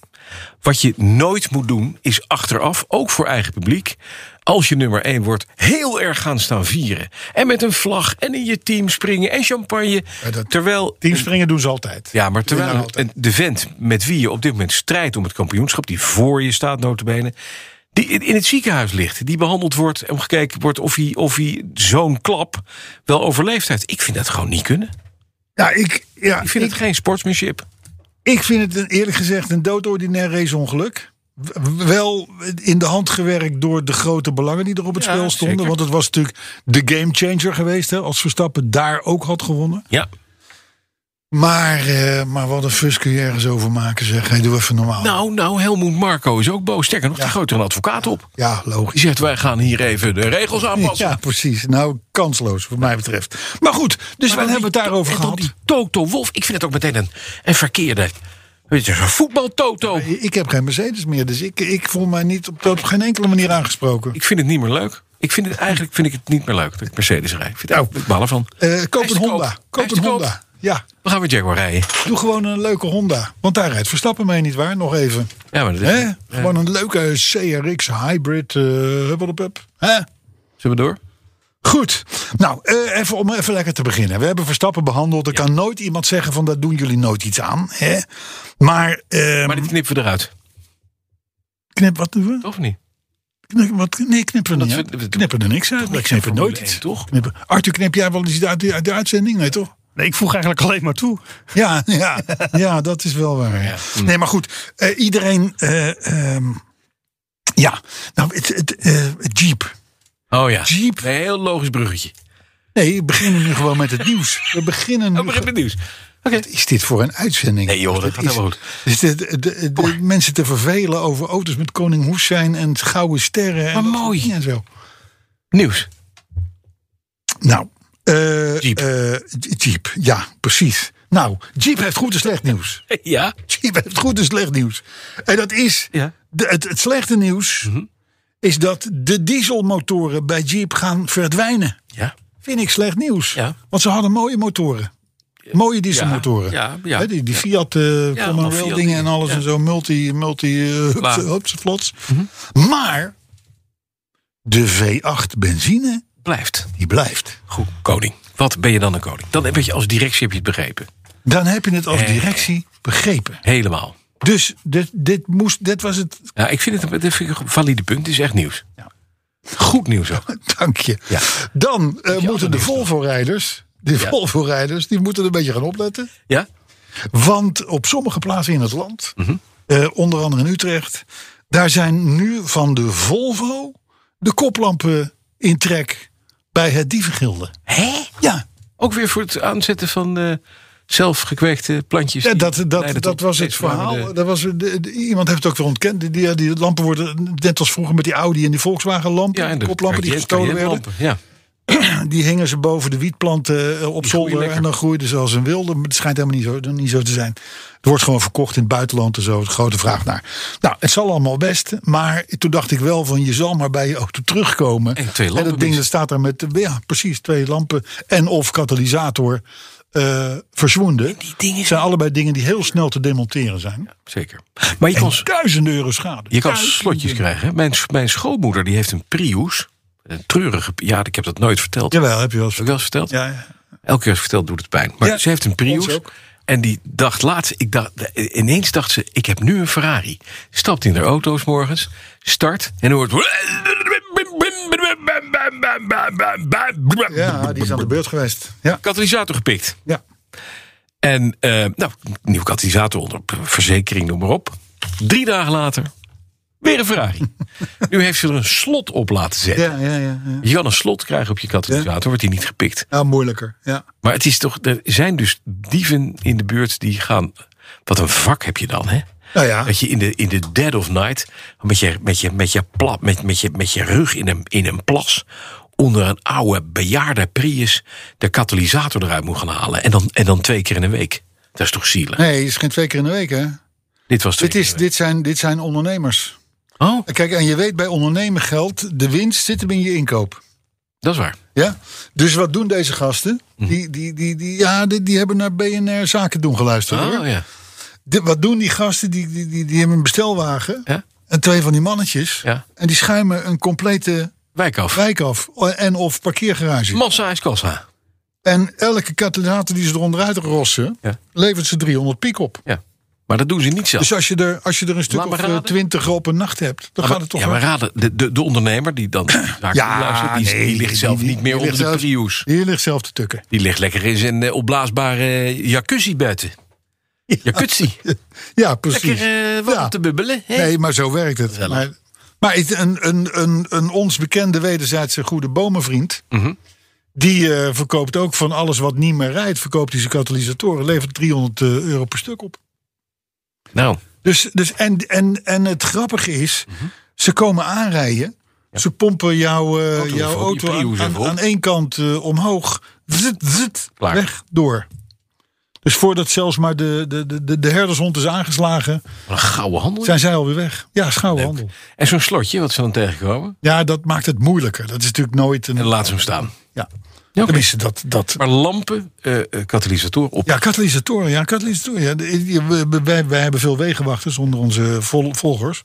Wat je nooit moet doen, is achteraf, ook voor eigen publiek. Als je nummer 1 wordt, heel erg gaan staan vieren. En met een vlag en in je team springen en champagne.
Ja, dat-
terwijl
Teamspringen doen ze altijd.
ja, maar terwijl
Winnen nou altijd.
een- de vent met wie je op dit moment strijdt om het kampioenschap... die voor je staat, notabene, die in in het ziekenhuis ligt... die behandeld wordt en gekeken wordt of hij, of hij zo'n klap wel overleefd heeft. Ik vind dat gewoon niet kunnen.
Ja, ik, ja,
Ik vind het geen sportsmanship.
ik vind het een, eerlijk gezegd een doodordinair raceongeluk. W- Wel in de hand gewerkt door de grote belangen die er op het
Ja,
spel stonden.
zeker.
Want het was natuurlijk de gamechanger geweest. Hè, als Verstappen daar ook had gewonnen.
Ja.
Maar, eh, maar wat een fus kun je ergens over maken zeg. Hey, doe even normaal.
Nou, nou, Helmoet Marco is ook boos. Sterker nog, die gooit er een advocaat op.
Ja, logisch.
Die zegt, wij gaan hier even de regels aanpassen.
Ja, precies. Nou, kansloos, wat mij betreft. Maar goed, dus we
Maar dan
hebben het
die-
daarover
en
gehad.
dan die Toto Wolf, ik vind het ook meteen een, een verkeerde... Weet je, zo'n voetbal-Toto.
Ik heb geen Mercedes meer, dus ik, ik voel mij niet op, op geen enkele manier aangesproken.
Ik vind het niet meer leuk. Ik vind het, eigenlijk vind ik het niet meer leuk dat ik Mercedes rijd. Ik, vind het, ik baal ervan.
Eh, koop
Hij is
een
te
Honda.
koop.
Koop,
Hij is
een
te koop.
Honda. Ja,
We gaan weer Jaguar rijden.
doe gewoon een leuke Honda. Want daar rijdt Verstappen mee, nietwaar? Nog even.
Ja, maar dat is,
Hè?
eh,
Gewoon een leuke CRX hybrid. eh huppeldepup. Hè?
Zullen we door?
Goed. Nou, eh, even, om even lekker te beginnen. We hebben Verstappen behandeld. Er kan nooit iemand zeggen van, daar doen jullie nooit iets aan. Hè? Maar, ehm,
Maar dit knippen we eruit.
knip, wat doen we?
Toch of niet?
Knip- wat- Nee, knippen we
Dat
niet
vind-
uit. We knippen er niks uit.
Toch
Wij
niks aan
knippen nooit
Formule
iets.
1, toch?
Knippen- Arthur, knip jij wel eens iets uit, de- uit de uitzending? Nee, toch?
Nee, ik voeg eigenlijk alleen maar toe.
Ja, ja, ja dat is wel waar. ja. Nee, maar goed. eh, iedereen... eh, ehm, ja, nou, het, het, eh, Jeep.
Oh ja.
Jeep.
Een heel logisch bruggetje.
Nee, we beginnen nu gewoon met het nieuws. We beginnen nu...
Oh, begin met nieuws.
Wat is dit voor een uitzending?
Nee, joh, dat
Wat
gaat
is-
helemaal goed.
Is dit, de, de- de mensen te vervelen over auto's met koning Hoesijn en gouden sterren. en
Maar
dat soort
mooi.
dingen En zo.
Nieuws.
Nou, eh,
Jeep.
eh, Jeep, ja, precies. Nou, Jeep heeft goed en slecht nieuws.
Ja.
Jeep heeft goed en slecht nieuws. En dat is,
Ja. Mhm.
de- het, het slechte nieuws is dat de dieselmotoren bij Jeep gaan verdwijnen.
Ja.
Vind ik slecht nieuws.
Ja.
Want ze hadden mooie motoren. Mooie dieselmotoren.
ja, ja.
Hè, die, die Fiat eh
allemaal
Commonwealth
Fiat
dingen en
dingen,
alles
ja.
en zo. Multi, multi, eh, hups,
Klaar. Mhm.
hups, vlots. Maar de V8 benzine,
Blijft.
die blijft.
Goed. Koning. Wat ben je dan een koning? Dan heb je als directie heb je het begrepen.
Dan heb je het als
Eh.
directie begrepen.
Helemaal.
Dus dit, dit, moest, dit was het
Ja, ik vind het dit vind ik een valide punt. Het is echt nieuws. Goed nieuws ook.
Dank je.
Ja.
Dan eh, moeten de
nieuws dan.
Volvo-rijders, de Volvo-rijders, die moeten er een beetje gaan opletten.
Ja?
Want op sommige plaatsen in het land, eh, onder andere in Utrecht, daar zijn nu van de Volvo de koplampen in trek bij het dievengilde.
Hé?
Ja,
Ook weer voor het aanzetten van eh zelfgekweekte plantjes.
ja,
die
dat, dat,
leiden tot
dat was het
steeds verwarmende-
verhaal. Dat was, de- de- iemand heeft het ook wel ontkend. Die- Die, die lampen worden, net als vroeger met die Audi en die Volkswagen-lampen,
Ja, en
de
de
koplampen die
carrière-
gestolen werden.
carrière-lampen, Ja.
Die hingen ze boven de wietplanten eh, op
Die groeien
zolder.
lekker.
En dan groeiden ze als een wilde. Maar het schijnt helemaal niet zo, niet zo te zijn. Het wordt gewoon verkocht in het buitenland en zo. De grote vraag naar. Nou, het zal allemaal best. Maar toen dacht ik wel van je zal maar bij je auto terugkomen.
En twee lampen
En dat ding
mis.
dat staat daar met, eh, ja precies, twee lampen. En of katalysator eh verzwoenden.
Die dingen
zijn allebei dingen die heel snel te demonteren zijn.
Zeker. Maar je
En
kan,
duizenden euro schade.
je kan
Duizenden
slotjes
euro.
krijgen. hè. Mijn, mijn schoonmoeder die heeft een Prius. Een treurige... Ja, ik heb dat nooit verteld. Heb
Jawel, heb je wel eens.
ik wel eens verteld?
Ja, ja.
Elke keer als verteld doet het pijn. Maar
Ja,
ze heeft een
ons
Prius.
ook.
En die dacht laatst, ik dacht, ineens dacht ze, ik heb nu een Ferrari. Stapt in haar auto's morgens, start en hoort...
ja, die is aan de beurt geweest. Ja,
Katalysator gepikt.
ja.
En eh nou, nieuw katalysator onder p- verzekering, noem maar op. Drie dagen later, weer een Ferrari. nu heeft ze er een slot op laten zetten.
Ja, ja, ja, ja.
Je kan een slot krijgen op je katalysator, wordt die niet gepikt.
Ja, moeilijker. Ja.
Maar het is toch, er zijn dus dieven in de buurt die gaan. Wat een vak heb je dan, hè?
Nou ja.
Dat je in de, in de dead of night. met je, met je, met je, plat, met, met je, met je rug in een, in een plas. onder een oude bejaarde Prius. de katalysator eruit moet gaan halen. En dan, en dan twee keer in een week. Dat is toch zielig?
Nee, het is geen twee keer in de week, hè?
Dit was twee
Dit, is,
keer in
dit, zijn, dit zijn ondernemers.
de week. Oh,
Kijk, en je weet, bij ondernemen geldt, de winst zit hem in je inkoop.
dat is waar.
Ja? Dus wat doen deze gasten?
Mhm.
Die, die, die, die, ja, die, die hebben naar BNR Zaken doen geluisterd. hoor.
Oh, ja.
De- wat doen die gasten? Die, die, die, die hebben een bestelwagen
Ja.
en twee van die mannetjes.
Ja.
En die schuimen een complete
Wijk af.
wijk af en of parkeergarage.
Massa is kassa.
En elke katalysator die ze eronder uit rossen,
Ja.
levert ze 300 piek op.
Ja. Maar dat doen ze niet zelf.
Dus als je, er, als je er een stuk
Laat maar
of eh,
raden.
20 op een nacht hebt, dan
Maar-
gaat het toch
ja, maar raden, de, de, de ondernemer die dan zaken luistert, die,
nee,
die ligt zelf
die-
niet meer
die
onder
ligt
de
zelf-
Prius.
Die ligt zelf te tukken.
Die ligt lekker in zijn eh, opblaasbare jacuzzi buiten. Jacuzzi.
Ja, precies.
Lekker eh, wat
Ja.
op te bubbelen. Hè?
Nee, maar zo werkt het.
Gezellig.
Maar, maar het- een, een, een, een ons bekende wederzijdse goede bomenvriend...
Mhm.
die eh, verkoopt ook van alles wat niet meer rijdt... verkoopt hij zijn katalysatoren, levert 300 eh, euro per stuk op.
Nou,
Dus, dus en, en, en het grappige is, ze komen aanrijden. Ze pompen jouw, eh,
Auto
jouw
even op,
auto
je Prius
aan, aan,
even op.
aan één kant eh, omhoog. Zit, zit,
Klaar.
weg, door. Dus voordat zelfs maar de, de, de- de, de herdershond is aangeslagen,
wat een gouden handel.
zijn zij alweer weg. Ja, schouwhandel.
En zo'n slotje, wat ze dan tegenkomen.
Ja, dat maakt het moeilijker. Dat is natuurlijk nooit
En
een...
laten ze hem staan.
Ja.
Ja, oké.
Tenminste, dat, dat,
Maar lampen, eh eh, katalysatoren op.
Ja, katalysatoren. Ja, katalysatoren. Ja, de- die- we- we- wij, wij hebben veel wegenwachters onder onze vol- volgers.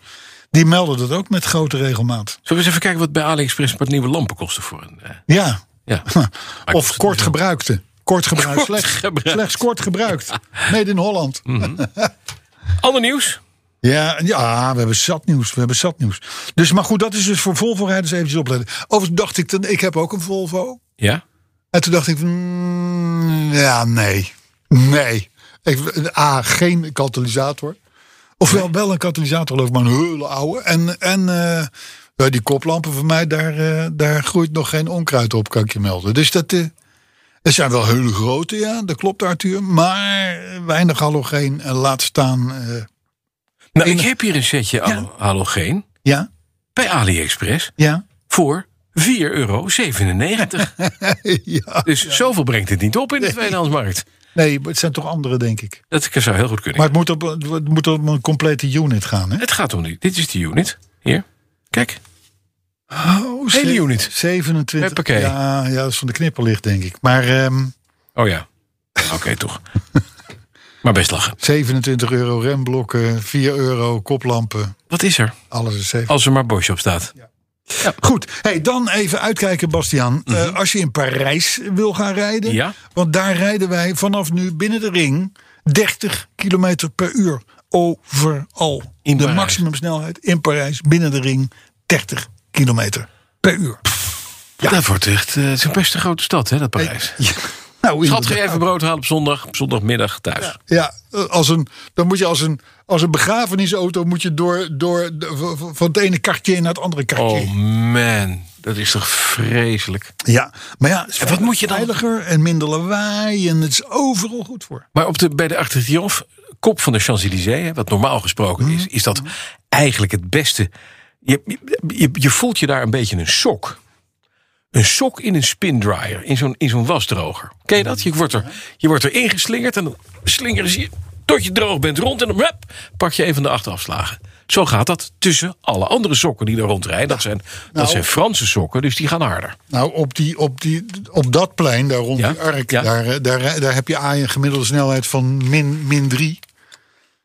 Die melden dat ook met grote regelmaat.
Zullen we eens even kijken wat bij AliExpress een paar nieuwe lampen kosten voor een... eh,
Ja,
ja. Maar kost
Of
het
kort
niet
gebruikte. Kort gebruikt,
Kort
slechts,
gebruikt. Hm.
slechts kort gebruikt. Mede in Holland.
veel. Ander nieuws.
Ja, en ja, we hebben zat nieuws. We hebben zat nieuws. Dus, maar goed, dat is dus voor Volvo-rijders eventjes opletten. Overigens dacht ik, dan, ik heb ook een Volvo.
Ja?
En toen dacht ik, mm, ja, nee. Nee. Ik, A, geen katalysator. Ofwel wel een katalysator, geloof ik, maar een hele oude. En, en eh, eh, die koplampen van mij, daar, eh, daar groeit nog geen onkruid op, kan ik je melden. Dus dat... eh het zijn wel hele grote, ja, dat klopt Arthur. Maar weinig halogeen, eh, laat staan. eh,
Nou,
In-
ik heb hier een setje halo- halogeen
ja,
bij AliExpress
ja.
voor 4,97 euro.
ja.
Dus zoveel brengt het niet op in de tweedehandsmarkt.
Nee, maar het zijn toch andere, denk ik.
Dat zou heel goed kunnen.
Maar het moet, op, het moet op een complete unit gaan, hè?
het gaat om die. Dit is de unit. Hier. Kijk.
Oh,
Hele
ze-
unit.
27.
Huppakee.
Ja, ja, dat is van de knipperlicht, denk ik. Maar ehm,
Oh ja. Oké, toch. Maar best lachen.
27 euro remblokken, 4 euro koplampen.
Wat is er?
Alles is 7.
Als er maar Bosch op staat.
Goed, hey, dan even uitkijken, Bastiaan. Eh, als je in Parijs wil gaan rijden.
Mhm. Ja.
Want daar rijden wij vanaf nu binnen de ring 30 kilometer per uur. Overal.
In
de
Parijs.
maximumsnelheid in Parijs binnen de ring 30 kilometer per uur.
Dat wordt echt... eh, het is een best een grote stad, hè, dat Parijs.
Ja, nou,
Schat, ga je
inderdaad.
even brood halen op zondag? Op zondagmiddag thuis.
Ja, eh, als een, dan moet je als een, als een begrafenisauto moet je door, door de- v- v- van het ene kartje naar het andere kartje.
Oh man, dat is toch vreselijk.
Ja, maar ja, het is
En wat moet je dan-
veiliger en minder lawaai en het is overal goed voor.
Maar op de, bij de Arc de Triomphe, kop van de Champs-Élysées, hè, wat normaal gesproken is, is dat eigenlijk het beste. Je, je, je voelt je daar een beetje een sok. Een sok in een spindryer, in zo'n, in zo'n wasdroger. Ken je dat? Je wordt, er, je wordt erin geslingerd en dan slingeren ze je tot je droog bent rond en dan hup, pak je een van de acht afslagen. Zo gaat dat tussen alle andere sokken die er rondrijden. Dat zijn, dat zijn Franse sokken, dus die gaan harder.
Nou, op, die, op, die, op dat plein, daar rond
Ja,
die ark,
ja.
daar, eh, daar, eh, daar heb je A een gemiddelde snelheid van min, min 3.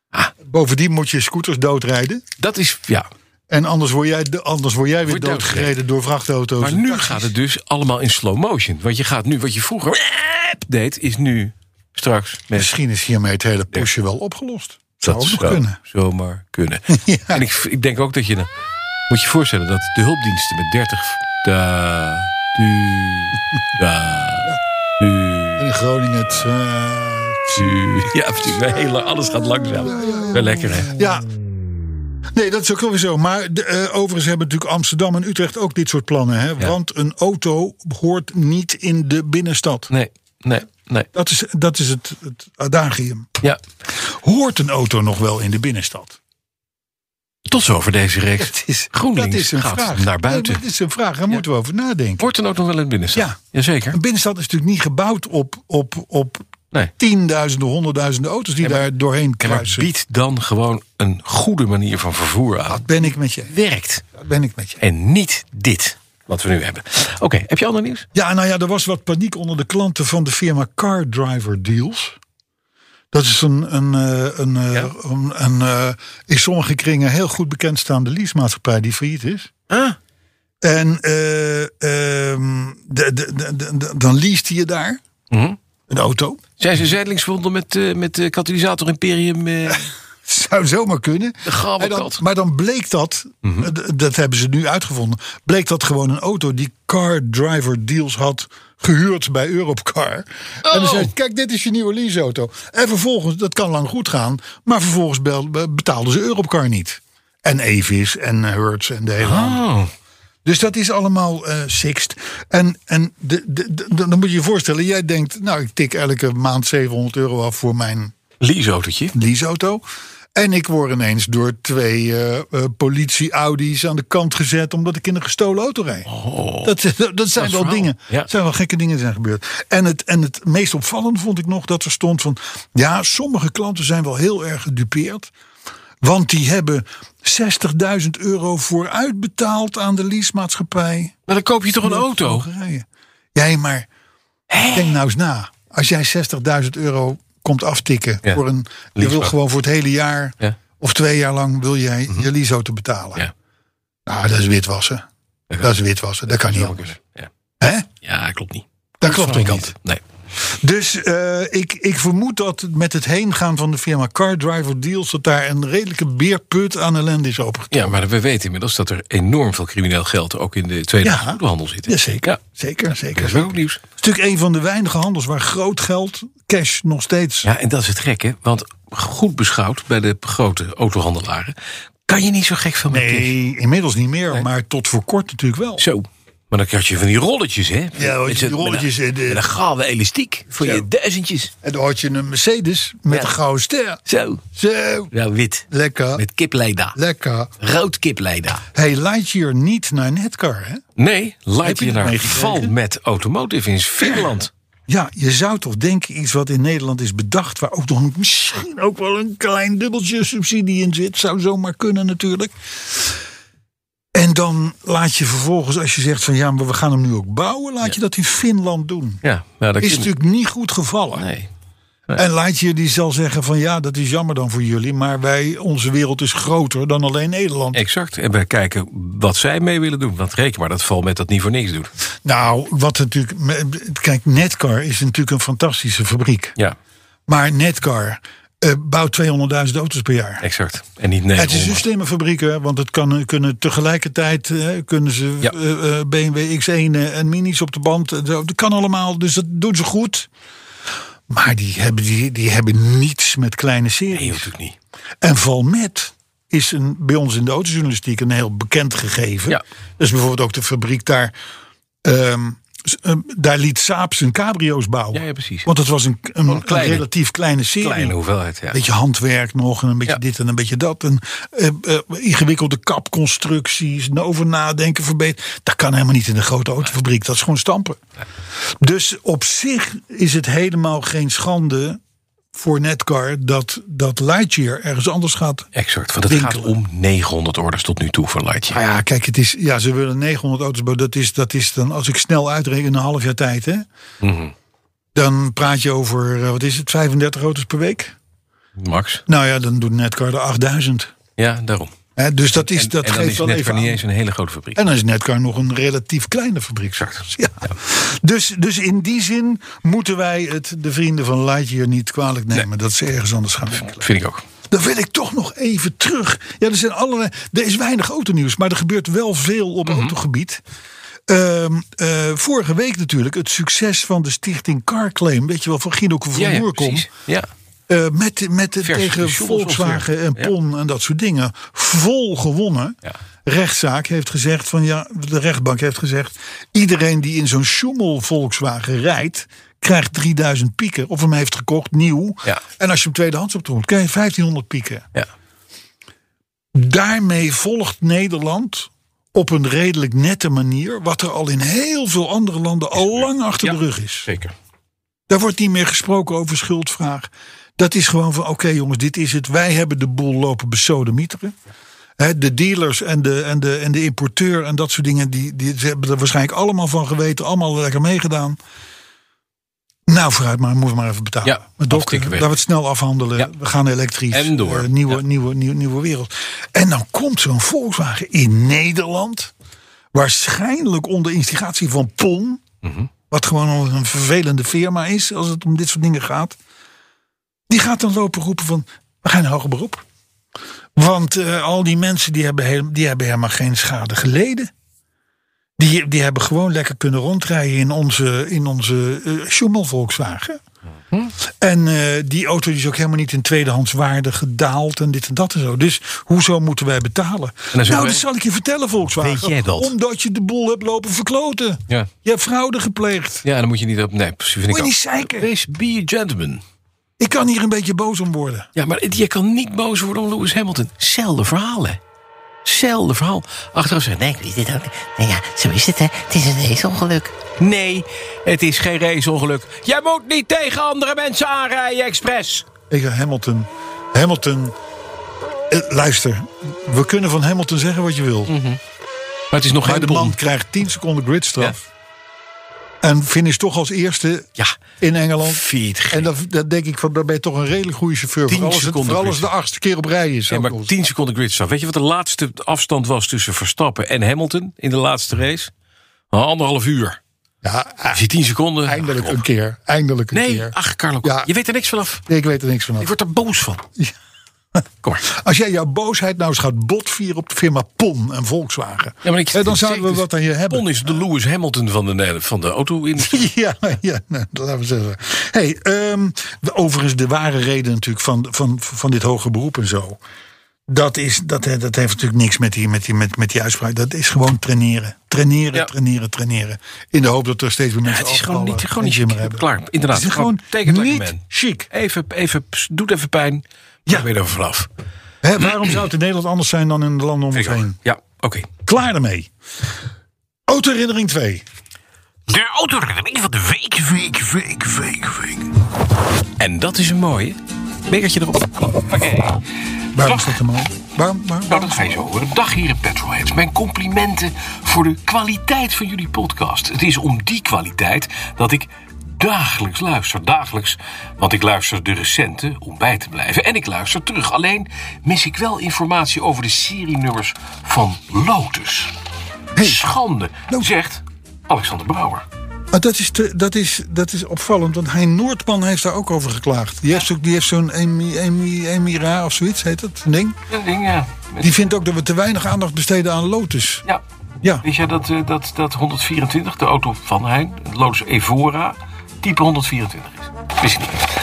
Ah.
Bovendien moet je scooters doodrijden.
Dat is, ja,
En anders word jij, de- anders word jij weer
Wordt doodgereden.
doodgereden door vrachtauto's.
Maar
en
nu
taxis.
gaat het dus allemaal in slow motion. Want je gaat nu, wat je vroeger deed, is nu straks met
Misschien is hiermee het hele postje wel opgelost. Zou ook nog
zou
kunnen.
zomaar kunnen. En ik, ik denk ook dat je dan, moet je voorstellen dat de hulpdiensten met 30 da, du, da, du,
En in Groningen het... eh,
du. Ja, precies. De hele- alles gaat langzaam. Wel lekker hè.
Ja. Nee, dat is ook wel weer zo. Maar de, eh, overigens hebben natuurlijk Amsterdam en Utrecht ook dit soort plannen. Hè? Want een auto hoort niet in de binnenstad.
Nee, nee, nee.
Dat is, dat is het, het adagium.
Ja.
Hoort een auto nog wel in de binnenstad?
Tot zover deze reeks. GroenLinks
dat is een
gaat
vraag.
naar
Nee,
buiten.
maar dat is een vraag, daar moeten we over nadenken.
Wordt er ook nog wel in het binnenstad?
Ja.
Jazeker.
Een binnenstad is natuurlijk niet gebouwd op, op, op
Nee.
tienduizenden, honderdduizenden auto's die daar doorheen
Ja, maar
kruisen.
bied dan gewoon een goede manier van vervoer aan.
Dat ben ik met je.
Werkt.
Dat ben ik met je.
En niet dit, wat we nu hebben. Oké, heb je ander nieuws?
Ja, nou ja, er was wat paniek onder de klanten van de firma Car Driver Deals. Dat is een, een, eh, een, eh,
Ja.
een, een, eh, in sommige kringen heel goed bekendstaande leasemaatschappij die failliet is.
Ah,
En eh, ehm, de, de, de, de- de- dan leest je daar
Mhm.
een auto.
Zijn ze zijdelings verbonden met, eh, met de katalysator Imperium? eh?
Zou zomaar kunnen.
grauwe
Maar dan,
kat.
maar dan bleek dat, eh, d- dat hebben ze nu uitgevonden, bleek dat gewoon een auto die Car Driver Deals had gehuurd bij Europcar. En dan zei ze, kijk, dit is je nieuwe leaseauto. En vervolgens, dat kan lang goed gaan, maar vervolgens bel- be- betaalden ze Europcar niet. En Avis en eh, Hertz en de hele handel.
Oh,
Dus dat is allemaal eh sixt. En, en de, de, de- dan moet je je voorstellen, jij denkt, nou, ik tik elke maand 700 euro af voor mijn
leaseautootje.
leaseauto. En ik word ineens door twee eh, eh, politie-Audi's aan de kant gezet. omdat ik in een gestolen auto rijd. dat, dat, dat zijn
Oh. is
wel
verhaal.
dingen.
Ja.
Dat zijn wel gekke dingen die zijn gebeurd. En het, en het meest opvallend vond ik nog dat er stond van. ja, sommige klanten zijn wel heel erg gedupeerd. Want die hebben 60.000 euro vooruitbetaald aan de leasemaatschappij.
Maar dan koop je toch een auto?
Hongarije. Jij, maar denk nou eens na. Als jij 60.000 euro komt aftikken
Ja.
voor een. Je wil
Leaseauto.
gewoon voor het hele jaar
Ja. Mhm.
of twee jaar lang wil jij je leaseauto betalen.
Ja.
Nou, dat is witwassen. Dat is witwassen. Dat kan niet anders.
Ja.
Hè?
ja, klopt niet.
Dat klopt
Van
ook
de
niet.
kant. Nee.
Dus eh, ik, ik vermoed dat met het heengaan van de firma Car Driver Deals... dat daar een redelijke beerput aan ellende is opgetrokken.
Ja, maar we weten inmiddels dat er enorm veel crimineel geld ook in de tweede
Ja.
handel zit. hè?
Jazeker,
Ja,
zeker, zeker.
dat is ook nieuws.
Het is natuurlijk een van de weinige handels waar groot geld, cash, nog steeds...
Ja, en dat is het gekke, want goed beschouwd bij de grote autohandelaren kan je niet zo gek veel meer cash.
Nee, inmiddels niet meer, maar tot voor kort natuurlijk wel.
Zo. Maar dan had je van die rolletjes, hè?
Ja,
Met
die
zo'n-
rolletjes
Met
en
een,
de-
met een gouden elastiek voor
Zo.
je duizendjes.
En dan had je een Mercedes met
Ja.
een gouden ster.
Zo.
Zo,
Nou, wit.
lekker,
Met kipleida.
lekker.
Rood kipleida.
Hey, Lightyear niet naar Netcar, hè?
Nee, laat
je
je
dat
naar
meegekregen?
val met automotive in Finland.
Ja, je zou toch denken iets wat in Nederland is bedacht... waar ook nog misschien ook wel een klein dubbeltje subsidie in zit. Zou zomaar kunnen natuurlijk. En dan laat je vervolgens, als je zegt van... ja, maar we gaan hem nu ook bouwen, laat je dat in Finland doen.
Ja, nou, dat
Is
kun je-
natuurlijk niet goed gevallen.
Nee.
En laat je die zal zeggen van ja, dat is jammer dan voor jullie. Maar wij, onze wereld is groter dan alleen Nederland.
Exact. En we kijken wat zij mee willen doen. Want reken maar dat val met dat niet voor niks doet.
Nou, wat natuurlijk. me- Kijk, Netcar is natuurlijk een fantastische fabriek.
Ja,
Maar Netcar eh, bouwt 200.000 auto's per jaar.
exact. En niet
Het is een
900.
slimme fabriek, hè, want het kan, kunnen tegelijkertijd eh, kunnen ze
Ja.
eh, eh, BMW X1 en minis op de band. eh, zo. Dat kan allemaal, dus dat doen ze goed. Maar die hebben, die, die hebben niets met kleine series.
Nee, natuurlijk niet.
En Valmet is een, bij ons in de autojournalistiek een heel bekend gegeven.
Ja.
Dus bijvoorbeeld ook de fabriek daar. ehm, s- ehm, daar liet Saab zijn cabrio's bouwen.
Ja, ja, precies.
Want het was een, een, een
kleine-
relatief kleine serie.
Kleine hoeveelheid, ja.
beetje handwerk nog en een beetje
Ja.
dit en een beetje dat. En eh, eh, ingewikkelde kapconstructies, en over nadenken, verbeteren. Dat kan helemaal niet in een grote autofabriek. Dat is gewoon stampen. Dus op zich is het helemaal geen schande voor Netcar dat, dat Lightyear ergens anders gaat.
Exact. Want het gaat om 900 orders tot nu toe voor Lightyear.
Nou ja, kijk, het is, ja, ze willen 900 auto's bouwen. Dat is, dat is dan, als ik snel uitreken, een half jaar tijd. Hè?
Mhm.
Dan praat je over, eh, wat is het, 35 auto's per week?
Max.
Nou ja, dan doet Netcar er 8000.
Ja, daarom.
Hè, dus dat, is,
En,
dat
en dan
geeft
is
wel
net
even
niet
aan.
eens een hele grote fabriek.
En dan is Netcar nog een relatief kleine fabriek. straks. Ja. Dus, dus in die zin moeten wij het de vrienden van Lightyear niet kwalijk nemen. Dat ze ergens anders gaan winkelen.
Vind ik ook.
Dan wil ik toch nog even terug. Ja, er, zijn allerlei, er is weinig autonieuws, maar er gebeurt wel veel op
Mhm.
autogebied. Ehm, eh, vorige week natuurlijk het succes van de stichting Car Claim. Weet je wel, van Guido
Ja,
van
ja,
Moerkom.
precies. Ja.
Eh, met met de-
Verse
tegen
pensioens
Volkswagen en
ongeveer. Ja.
PON en dat soort dingen. Vol gewonnen.
Ja.
Rechtszaak heeft gezegd van ja, de rechtbank heeft gezegd. Iedereen die in zo'n schoemel Volkswagen rijdt, krijgt 3000 pieken. Of hem heeft gekocht, nieuw.
Ja.
En als je hem tweedehands optroont, krijg je 1500 pieken.
ja.
Daarmee volgt Nederland op een redelijk nette manier. wat er al in heel veel andere landen al lang achter de rug is.
Zeker.
Daar wordt niet meer gesproken over schuldvraag. Dat is gewoon van, oké jongens, dit is het. Wij hebben de boel lopen besodemieteren. Hè, de dealers en de, en, de, en de importeur en dat soort dingen... Die, die, ze hebben er waarschijnlijk allemaal van geweten. Allemaal lekker meegedaan. Nou, vooruit maar, moeten we maar even betalen.
Ja,
maar dokter,
aftikken weg.
laten we het snel afhandelen.
Ja.
We gaan elektrisch.
En door.
Eh, nieuwe,
Ja.
nieuwe, nieuwe, nieuwe wereld. En dan komt zo'n Volkswagen in Nederland... waarschijnlijk onder instigatie van PON...
Mhm.
Wat gewoon al een vervelende firma is als het om dit soort dingen gaat. Die gaat dan lopen roepen van, we gaan in hoger beroep. Want eh, al die mensen die hebben, heel- die hebben helemaal geen schade geleden. Die, die hebben gewoon lekker kunnen rondrijden in onze, in onze eh, Schummel Volkswagen.
Hm?
En eh, die auto die is ook helemaal niet in tweedehands waarde gedaald en dit en dat en zo. Dus hoezo moeten wij betalen?
dan zeggen
Nou,
wij-
dat zal ik je vertellen, Volkswagen.
Weet jij dat?
Omdat je de boel hebt lopen verkloten.
Ja.
Je hebt fraude gepleegd.
Ja, dan moet je niet op. Nee, precies. Vind
Moet
ik
je
ook.
niet zeiken.
Wees be a gentleman.
Ik kan hier een beetje boos om worden.
Ja, maar je kan niet boos worden om Lewis Hamilton. Zelfde verhaal, hè? Zelfde verhaal. Achteraf zeggen, nee, ik weet dit ook niet. Nou ja, zo is het, hè. Het is een raceongeluk. Nee, het is geen raceongeluk. Jij moet niet tegen andere mensen aanrijden, expres.
Ik zeg Hamilton. Hamilton. eh, luister, we kunnen van Hamilton zeggen wat je wil.
Maar het is nog
Maar
geen
de
bon.
man krijgt 10 seconden gridstraf. En finish toch als eerste
Ja,
in Engeland.
fiet.
En dan, dan denk ik van, daar ben je toch een redelijk goede chauffeur.
10
Voor alles, het,
seconden
voor alles de
gridstraf.
achtste keer op rij is.
Ja,
ook
maar
nog eens.
10 seconden gridstraf. Weet je wat de laatste afstand was tussen Verstappen en Hamilton in de laatste race? Een Anderhalf uur.
Ja,
Nou,
eh,
Als je 10 seconden.
eindelijk
Ach,
een keer. Eindelijk een
Nee,
keer.
ach Carlo,
Ja.
je weet er niks vanaf.
Nee, ik weet er niks van.
Ik word er boos van. Kom maar.
Als jij jouw boosheid nou eens gaat botvieren op de firma PON en Volkswagen.
Ja, maar ik-
hè, Eh, dan zouden we
dus
wat aan je hebben.
Pon is de Lewis Hamilton van de, Nederland- van de auto-industrie.
Ja, ja nee, dat laten we zeggen. Hey, ehm, de- overigens, de ware reden natuurlijk van, van, van dit hoger beroep en zo. Dat, is, dat, he- dat heeft natuurlijk niks met die, met, die, met, met die uitspraak. Dat is gewoon traineren. Traineren,
Ja.
traineren, traineren. In de hoop dat er steeds meer mensen
het is gewoon
afvallen
niet, gewoon
en
niet
gym
chic.
hebben.
Klaar, inderdaad.
Het is gewoon
take it like a
niet
man.
chic.
Even, even, doet even pijn. Ja, weer er vanaf.
Hè, waarom zou het in Nederland anders zijn dan in de landen om ons
Ik ook.
heen?
Ja, oké.
Klaar ermee. Autoherinnering 2.
De autoherinnering van de week, week, week, week, week.
En dat is een mooie. Bekertje erop. Oké.
Waarom is dat te mooi? Waarom, waarom?
Nou, dat ga je zo horen. Dag heren Petrolheads. Mijn complimenten voor de kwaliteit van jullie podcast. Het is om die kwaliteit dat ik dagelijks luister. Dagelijks, want ik luister de recente om bij te blijven. En ik luister terug. Alleen mis ik wel informatie over de serienummers van Lotus. Schande,
Lotus.
zegt Alexander Brouwer.
Maar Ah, dat is, te- dat, is, dat is opvallend, want Hein Noordman heeft daar ook over geklaagd. Die heeft, ook, die heeft zo'n Emi, Emi, Emira of zoiets, heet dat een ding.
Dat ding, ja.
Die vindt ook dat we te weinig aandacht besteden aan Lotus.
Ja.
Ja.
Weet jij dat, eh, dat, dat 124, de auto van Hein, Lotus Evora, type 124 is? Wist je niet.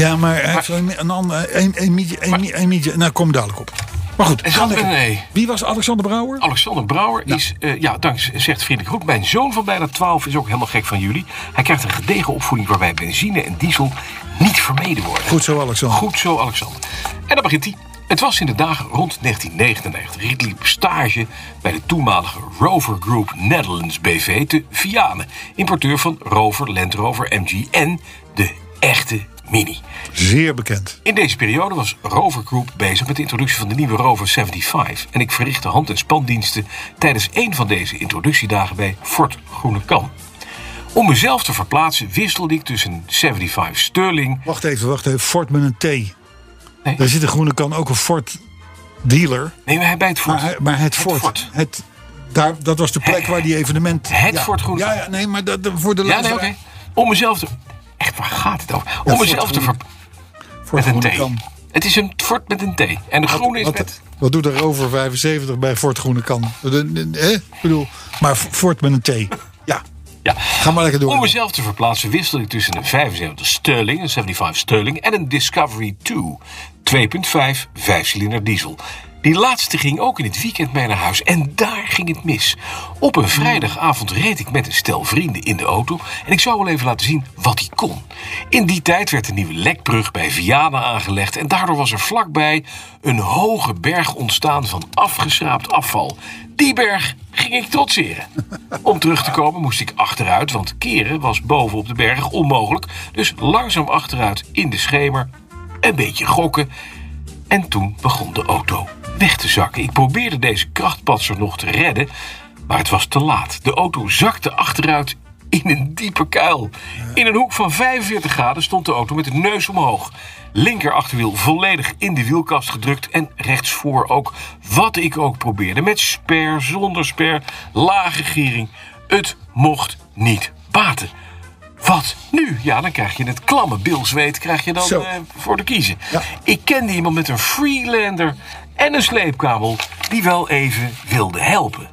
Ja, maar hij heeft een, een ander... Emi- Emi- Emi- Emi- nou, kom dadelijk op. Maar goed,
En
ga
Sander,
lekker.
nee.
Wie was Alexander Brouwer?
Alexander Brouwer is, eh, ja, dank, zegt vriendelijk goed. Mijn zoon van bijna 12 is ook helemaal gek van jullie. Hij krijgt een gedegen opvoeding waarbij benzine en diesel niet vermeden worden.
Goed zo, Alexander.
Goed zo, Alexander. En dan begint hij. Het was in de dagen rond 1999. Ik liep stage bij de toenmalige Rover Group Netherlands BV te Vianen. Importeur van Rover, Land Rover, MG en de echte Mini.
Zeer bekend.
In deze periode was Rover Group bezig met de introductie van de nieuwe Rover 75. En ik verrichtte hand- en spandiensten tijdens een van deze introductiedagen bij Fort Groenekam. Om mezelf te verplaatsen wisselde ik tussen een 75 Sterling.
Wacht even, wacht even. Ford met een T. Daar zit de groene kan ook een Ford dealer.
Nee, maar hij bij het Fort.
Maar, maar het Ford, het, daar, dat was de plek waar die evenement...
Het
ja.
Ford Groene
Ja,
Kan.
ja, nee, maar dat, voor de
Ja, nee,
luisteraar-
oké. Om mezelf te. Echt, waar gaat het over? Om
Fort
mezelf te
Groene-
ver...
Ford
met een
Groene
T.
Kan.
Het is een Fort met een T. En de groene is
Wat,
met.
wat doet er over 75 bij Ford Groene Kan? Hè? Ik bedoel, maar Ford met een T. Ja,
Ja.
ga maar lekker
Om
door.
mezelf te verplaatsen wisselde ik tussen een 75 Sterling, een 75 Sterling en een Discovery 2. 2.5 vijfcilinder diesel. Die laatste ging ook in het weekend mee naar huis en daar ging het mis. Op een vrijdagavond reed ik met een stel vrienden in de auto en ik zou wel even laten zien wat hij kon. In die tijd werd de nieuwe lekbrug bij Vianen aangelegd en daardoor was er vlakbij een hoge berg ontstaan van afgeschraapt afval. Die berg ging ik trotseren. Om terug te komen moest ik achteruit, want keren was boven op de berg onmogelijk. Dus langzaam achteruit in de schemer, een beetje gokken. En toen begon de auto weg te zakken. Ik probeerde deze krachtpatser nog te redden, maar het was te laat. De auto zakte achteruit in een diepe kuil. In een hoek van 45 graden stond de auto met de neus omhoog. Linker achterwiel volledig in de wielkast gedrukt en rechtsvoor ook. Wat ik ook probeerde, met sper, zonder sper, lage giering. Het mocht niet baten. Wat nu? Ja, dan krijg je het klamme bilzweet krijg je dan
Zo.
eh, voor de kiezen.
Ja.
Ik kende iemand met een freelander en een sleepkabel die wel even wilde helpen.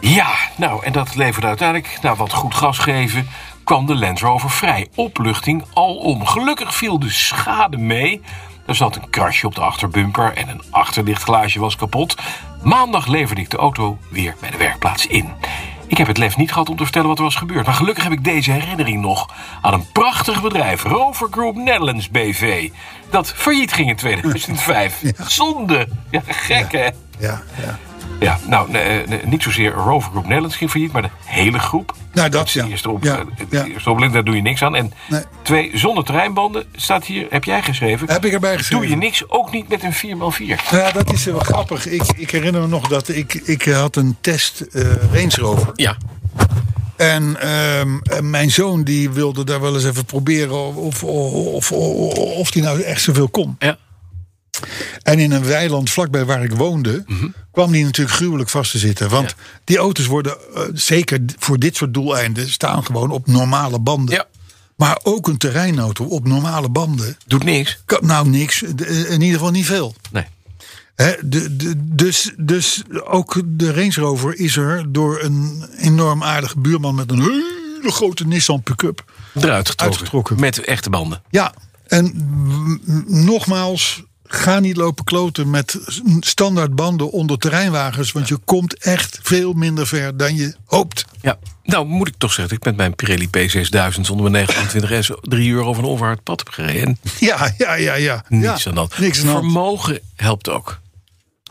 Ja, nou, en dat leverde uiteindelijk, na wat goed gas geven, kwam de Land Rover vrij. Opluchting alom. Gelukkig viel de schade mee. Er zat een krasje op de achterbumper en een achterlichtglaasje was kapot. Maandag leverde ik de auto weer bij de werkplaats in. Ik heb het lef niet gehad om te vertellen wat er was gebeurd. Maar gelukkig heb ik deze herinnering nog aan een prachtig bedrijf, Rover Group Netherlands BV. Dat failliet ging in 2005. Zonde. Ja, gek hè.
Ja, ja.
Ja, nou, nee, nee, niet zozeer Rover Group Nederland ging failliet, maar de hele groep.
Nou, dat ja.
De eerste op,
Ja,
eh, de
ja.
eerste opleiding, daar doe je niks aan. En
Nee.
twee, zonder terreinbanden, staat hier, heb jij geschreven.
Heb ik erbij geschreven.
Doe je niks, ook niet met een 4x4.
Nou Ja, dat is wel grappig. Ik, ik herinner me nog dat ik, ik had een test eh Range Rover.
Ja.
En ehm, en mijn zoon die wilde daar wel eens even proberen of, of, of, of, of die nou echt zoveel kon.
ja.
En in een weiland vlakbij waar ik woonde, kwam die natuurlijk gruwelijk vast te zitten. Want die auto's worden, eh, zeker voor dit soort doeleinden, staan gewoon op normale banden.
Ja.
Maar ook een terreinauto op normale banden
Doet niks.
kan nou niks, eh, in ieder geval niet veel.
Nee.
Hè, de, de, dus, dus ook de Range Rover is er door een enorm aardige buurman met een hele grote Nissan pick-up.
Eruit getrokken.
Uitgetrokken.
Met echte banden.
Ja, en m- m- nogmaals, ga niet lopen kloten met s- standaard banden onder terreinwagens. Want je komt echt veel minder ver dan je hoopt.
Ja. Nou, moet ik toch zeggen, dat ik met mijn Pirelli P6000 zonder mijn 29S drie uur over een onverhard pad heb gereden. En
Ja, ja, ja, ja.
niks
ja,
aan dat.
Niks aan de hand.
Vermogen helpt ook.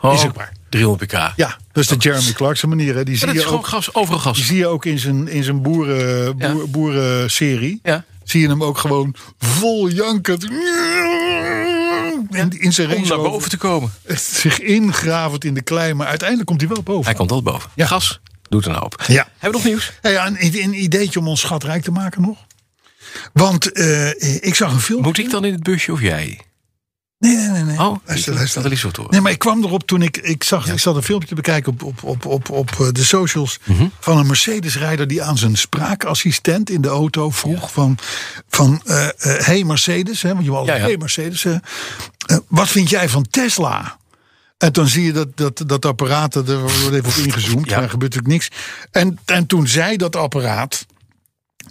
Oh,
Is ook waar.
300 pk.
Ja, dat is de Jeremy Clarkson manier. Hè. Die
Maar
zie
dat
je
is gewoon
ook
gas, overal
Die
gas.
zie je ook in zijn, in zijn boeren,
Ja.
boer, boerenserie.
Ja.
Zie je hem ook gewoon vol jankend. In, in zijn
Om
Range
naar
Rover
boven te komen.
Zich ingravend in de klei, maar uiteindelijk komt hij wel boven.
Hij komt altijd boven.
Ja.
Gas doet nou een hoop.
Ja.
Hebben we nog nieuws?
Nou ja, een, een ideetje om ons schatrijk te maken nog. Want eh, ik zag een film.
Moet ik dan in het busje of jij?
Nee, nee, nee. nee.
Oh,
luister,
ik-
luister.
dat is wat hoor.
Nee, maar ik kwam erop toen ik, ik zag, ik zat een filmpje te bekijken op, op, op, op, op eh, de socials
Mhm.
van een Mercedes-rijder die aan zijn spraakassistent in de auto vroeg van, van eh, eh, hey Mercedes, hè, want je wil altijd
Ja, ja.
hey Mercedes, eh, eh, wat vind jij van Tesla? En dan zie je dat, dat, dat apparaat, dat- er wordt even op ingezoomd,
Ja.
daar gebeurt natuurlijk niks. En, en toen zei dat apparaat,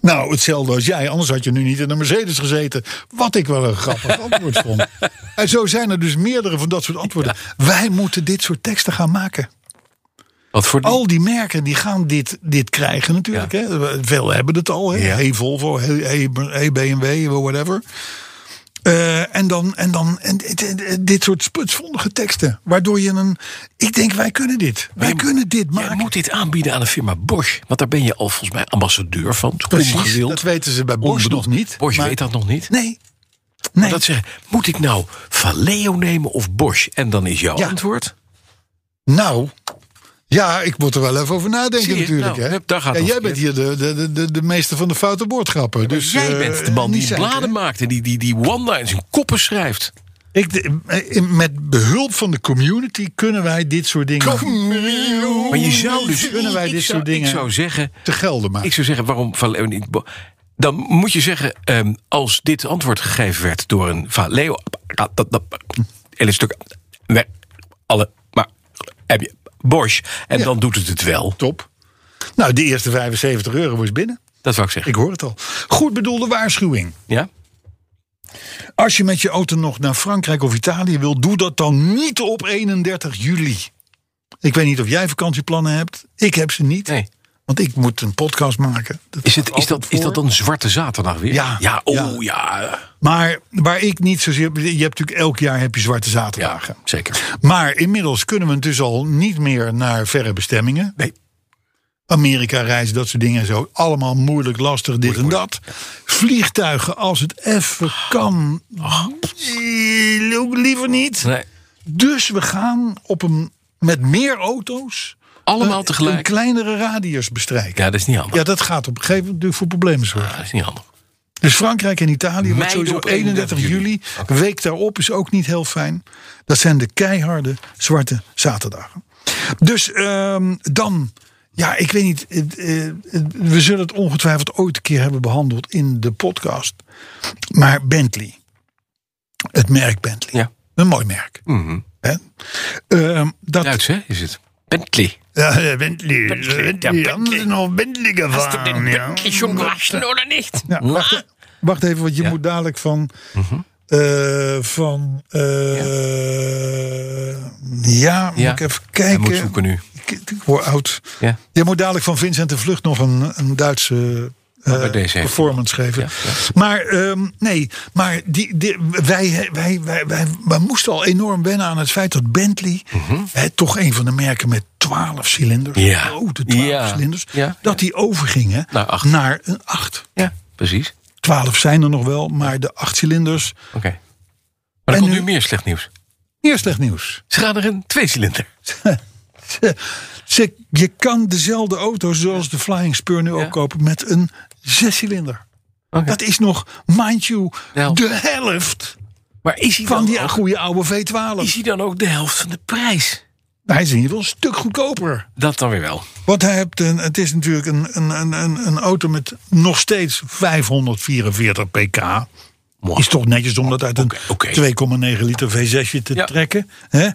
nou hetzelfde als jij, anders had je nu niet in een Mercedes gezeten. Wat ik wel een grappig antwoord vond. En zo zijn er dus meerdere van dat soort antwoorden. Wij moeten dit soort teksten gaan maken.
Wat voor die-
Al die merken die gaan dit, dit krijgen natuurlijk. Hè? Veel hebben het al. Hè?
Ja.
Hey Volvo, hey, hey, hey BMW, whatever. Eh, en dan, en dan en, dit- dit- dit soort sputsvondige teksten. Waardoor je een... Ik denk, wij kunnen dit. Wij kunnen dit
Jij
maken.
moet dit aanbieden aan de firma Bosch. Want daar ben je al volgens mij ambassadeur van.
Precies,
Ongewild.
dat weten ze bij Bosch nog
Onbedoeld.
niet.
Bosch
maar-
weet dat nog niet.
Nee. nee.
Dat zeggen, moet ik nou Valeo nemen of Bosch? En dan is jouw
Ja.
antwoord.
Nou, ja, ik moet er wel even over nadenken
Zie je?
natuurlijk.
Nou,
hè?
hup, daar gaat
ja,
het
jij bent hier de, de, de- de, de meester van de foute woordgrappen. dus,
Jij
eh,
bent de man
niet
die
zeker, hè?
bladen maakt en die, die, die Wanda in zijn koppen schrijft.
Ik, de- eh, met behulp van de community kunnen wij dit soort dingen...
Maar je zou dus.
Kunnen wij
ik
dit
zou-
soort dingen
Ik zou zeggen.
te gelden maken?
Ik zou zeggen, waarom Valeo niet. Bo- Dan moet je zeggen, ehm, als dit antwoord gegeven werd door een Valeo. dat- dat- dat- Hele stuk. weg, Alle. Maar heb je. Bosch. En dan doet het het wel.
Top. Nou, de eerste 75 euro was binnen.
Dat zou ik zeggen.
Ik hoor het al. Goed bedoelde waarschuwing.
Ja?
Als je met je auto nog naar Frankrijk of Italië wil, doe dat dan niet op 31 juli. Ik weet niet of jij vakantieplannen hebt. Ik heb ze niet.
Nee.
Want ik moet een podcast maken. Dat
Is, het,
gaat
is, dat,
altijd
is dat
voor.
dan Zwarte Zaterdag weer?
Ja,
Ja,
ja.
oh ja.
Maar waar ik niet zozeer. Je hebt natuurlijk elk jaar heb je zwarte
Ja,
zaterdagen.
zeker.
Maar inmiddels kunnen we dus al niet meer naar verre bestemmingen.
Nee.
Amerika reizen, dat soort dingen en zo. Allemaal moeilijk, lastig, dit en dat. Vliegtuigen, als het even kan. eh, Ook liever niet.
Oh. Nee.
Dus we gaan op een, met meer auto's. eh,
Allemaal
een- Een
tegelijk.
kleinere radius bestrijken.
Ja,
Ja.
dat is niet handig.
dat gaat op een gegeven moment natuurlijk voor problemen zorgen.
Dat is niet handig.
Dus Frankrijk en Italië wordt sowieso
op
31 juli. Week daarop is ook niet heel fijn. Dat zijn de keiharde zwarte zaterdagen. Dus ehm, dan, ja, ik weet niet. eh, eh, we zullen het ongetwijfeld ooit een keer hebben behandeld in de podcast. Maar Bentley. Het merk Bentley.
Ja.
Een mooi merk. Hè? Ehm, dat,
Duits, hè, is het. Bentley.
ja, Bentley.
ja,
Bentley. Hebben ze nog Bentley gefahren, ja.
schon gewaschen oder niet?
Ja, wacht, e- wacht even, want je moet dadelijk van.
Mhm.
eh, van. eh, ja,
Ja.
moet ik eh, even
Hij
kijken.
moet zoeken nu.
Ik, ik word oud.
Ja.
Je moet dadelijk van Vincent de Vlucht nog een, een Duitse. eh,
Maar bij deze heeft
performance geven. Maar ehm, nee, maar die, die, wij, wij, wij, wij, wij moesten al enorm wennen aan het feit dat Bentley, hè, toch een van de merken met 12 cilinders,
Mhm. Ja.
grote 12
Ja.
cilinders,
Ja.
dat die overgingen
Naar acht.
naar een 8.
Ja, precies.
12 zijn er nog wel, maar de acht cilinders.
Oké. Maar er
En
komt
nu-
nu meer slecht nieuws.
Eerst slecht nieuws.
Ze gaan er een tweecilinder.
Ze- ze- je kan dezelfde auto zoals de Flying Spur nu ook kopen met een zescilinder. Dat is nog, mind you,
De helft.
de helft
Maar is hij,
Van
dan
die
ook,
goede oude V12.
is hij dan ook de helft van de prijs?
Hij is in ieder geval een stuk goedkoper.
Dat dan weer wel.
Want hij hebt een, het is natuurlijk een, een, een, een, een auto met nog steeds 544 pk. Is toch netjes om dat uit een
oké.
2,9 liter V6 te
Ja.
trekken. Hè?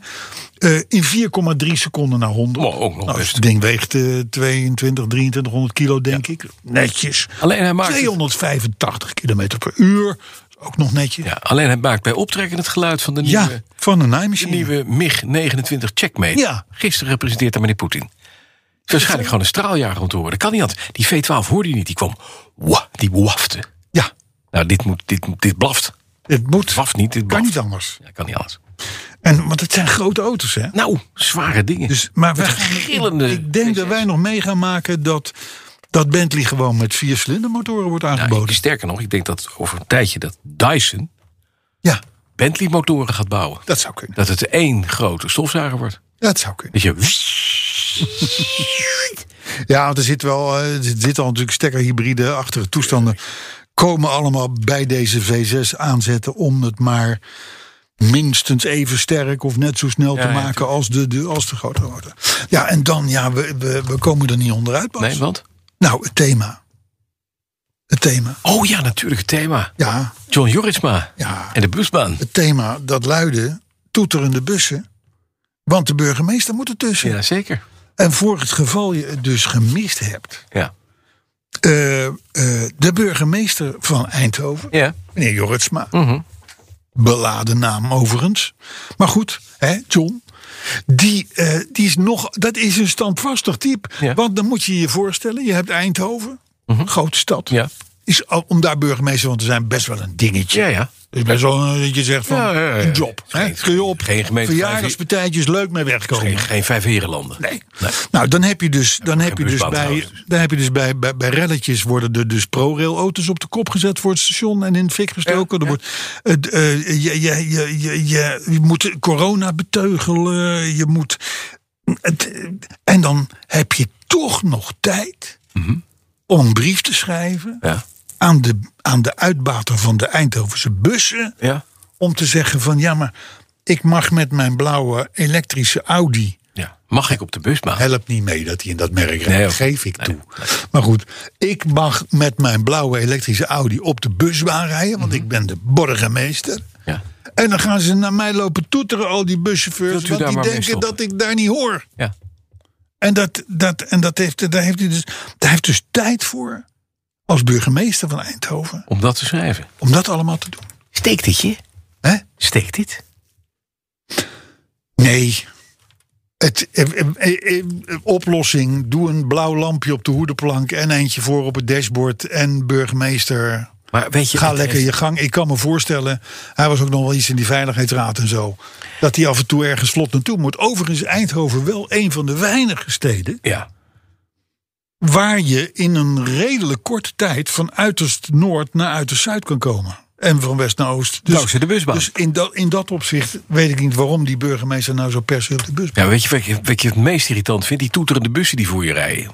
Eh, in 4,3 seconden naar 100.
Maar ook nog
nou,
best.
Het ding weegt eh 22, 2300 kilo denk ik. Netjes.
Alleen hij maakt het-
285 km per uur. Ook nog netjes.
Ja,
Ja,
alleen het maakt bij optrekken het geluid van de nieuwe,
van een
de
naaimachine.
nieuwe MiG-29 Checkmate.
Ja.
Gisteren gepresenteerd door meneer Poetin. Het is waarschijnlijk gewoon een straaljager om te horen. Dat kan niet anders. Die V12 hoorde je niet. Die kwam, wa, die wafte.
Ja,
Nou, dit, moet, dit, moet- dit blaft.
het moet.
Blaft niet, dit
Kan
blaft.
niet anders.
Ja, kan niet anders.
En, want het zijn grote auto's hè.
Nou, zware dingen.
Dus, maar wij,
gillende
ik denk dat wij nog mee gaan maken dat, dat Bentley gewoon met vier cilindermotoren wordt
Nou, ik-
aangeboden.
sterker nog, ik denk dat over een tijdje dat Dyson
Ja,
Bentley-motoren gaat bouwen.
dat zou kunnen.
Dat het één grote stofzuiger wordt.
Dat zou kunnen.
Dat je...
Ja, want er zit wel, eh, er zitten al natuurlijk stekkerhybride achtige toestanden. Komen allemaal bij deze V6 aanzetten om het maar minstens even sterk of net zo snel
Ja,
te
ja,
maken als de, de, als de grote auto. Ja, en dan, ja, we, we, we komen er niet onderuit. Bas.
Nee, want?
Nou, het thema. Het thema.
Oh ja, natuurlijk, het thema.
Ja,
John Joritsma
ja.
en de busbaan.
het thema dat luidde toeterende bussen. Want de burgemeester moet ertussen.
Ja, zeker.
En voor het geval je het dus gemist hebt.
Ja.
eh, eh, de burgemeester van Eindhoven,
Ja.
meneer Jorritsma.
Mhm.
Beladen naam overigens. Maar goed, hè, John. Die, eh, die is nog, dat is een standvastig type.
Ja. Mhm.
Want dan moet je je voorstellen, je hebt Eindhoven. Grote stad.
Ja.
Is, al- om daar burgemeester van te zijn best wel een dingetje.
Ja, ja.
Dus best wel een- dat je zegt van
Ja, ja, ja.
een job. Hè?
Geen-
Kun je op
geen gemeente-
verjaardagspartijtjes leuk mee wegkomen.
Geen, geen vijf herenlanden.
Nee. Nou, dan heb je dus, dan heb je
geen
dus,
busbaan
bij,
trouwens.
dan heb je dus bij, bij, bij relletjes worden er dus ProRail auto's op de kop gezet voor het station en in het fik gestoken. Er wordt, het, eh, je, je, je, je, je, je moet corona beteugelen, je moet... het, eh, en dan heb je toch nog tijd om een brief te schrijven
Ja.
aan, de, aan de uitbater van de Eindhovense bussen
Ja.
om te zeggen van ja, maar ik mag met mijn blauwe elektrische Audi.
ja. Mag ik op de busbaan?
Help niet mee dat hij in dat merk rijdt.
Nee, hoor.
geef ik toe. Maar goed, ik mag met mijn blauwe elektrische Audi op de busbaan rijden,
Mhm.
want ik ben de borgemeester.
Ja.
En dan gaan ze naar mij lopen toeteren, al die buschauffeurs,
Wilt u
want
daar
die
maar mee
denken dat
stoppen?
ik daar niet hoor.
Ja.
En, dat, dat, en dat heeft, daar, heeft hij dus, daar heeft dus tijd voor, als burgemeester van Eindhoven,
Om dat te schrijven.
om dat allemaal te doen.
Steekt dit je?
Hè?
Steekt dit?
Nee. Het, eh, eh, eh, eh, oplossing, doe een blauw lampje op de hoedenplank en eentje voor op het dashboard en burgemeester,
Maar weet je...
ga
het
lekker
heeft-
je gang. Ik kan me voorstellen, hij was ook nog wel iets in die veiligheidsraad en zo, dat hij af en toe ergens vlot naartoe moet. Overigens Eindhoven wel een van de weinige steden
Ja.
waar je in een redelijk korte tijd van uiterst noord naar uiterst zuid kan komen. En van west naar oost. Dus,
Dankzij de busbaan.
Dus in dat, in dat opzicht weet ik niet waarom die burgemeester nou zo per se op de bus
Ja, weet je wat ik wat ik het meest irritant vind? Die toeterende bussen die voor je rijden.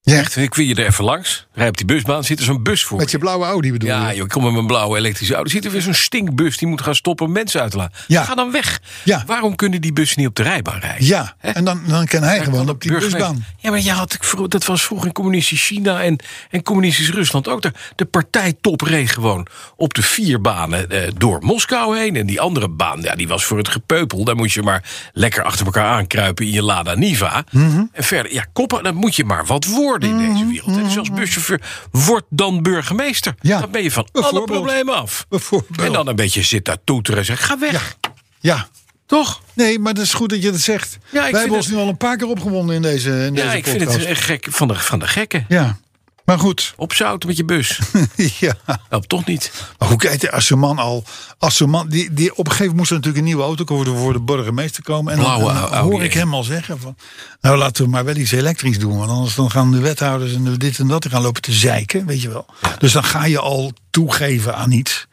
Ja.
Echt, ik wil je er even langs. Rij op die busbaan, zit er zo'n bus voor
Met je
je.
blauwe Audi bedoel
Ja,
je?
joh, ik kom met mijn blauwe elektrische auto. Zit er weer zo'n stinkbus die moet gaan stoppen om mensen uit te laten.
Ja.
Ga dan weg.
Ja.
Waarom kunnen die bussen niet op de rijbaan rijden?
Ja, en dan, dan kan hij gewoon op die
Burgemeester.
busbaan.
Ja, maar ja, had ik vroeg- dat was vroeger in communistisch China en, en communistisch Rusland ook. daar. De partijtop reed gewoon op de vier banen eh, door Moskou heen. En die andere baan, ja, die was voor het gepeupel. Daar moet je maar lekker achter elkaar aankruipen in je Lada Niva.
Mhm.
En verder, ja, koppen, dat moet je maar wat worden in deze wereld. En zelfs buschauffeur, word dan burgemeester.
Mhm. Ja,
Dan ben je van alle
bijvoorbeeld.
problemen af.
Bijvoorbeeld.
En dan een beetje zit daar toeteren en zeggen, ga weg.
Ja,
Toch?
nee, maar dat is goed dat je dat zegt.
vind
Wij hebben ons
het-
nu al een paar keer opgewonden in deze, in deze
Ja, ik
podcast.
vind het eh, gek van de, van de gekken.
Ja, maar goed.
Opzouten met je bus.
ja.
Helpt Nou, toch niet?
Maar hoe kijkt de Asserman al? Asserman, die, die, op een gegeven moment moest er natuurlijk een nieuwe auto worden voor de burgemeester komen. En dan,
Blauwe
dan
Audi
hoor ik
A1.
hem al zeggen van, nou laten we maar wel iets elektrisch doen. Want anders dan gaan de wethouders en de dit en dat gaan lopen te zeiken, weet je wel. Dus dan ga je al toegeven aan iets.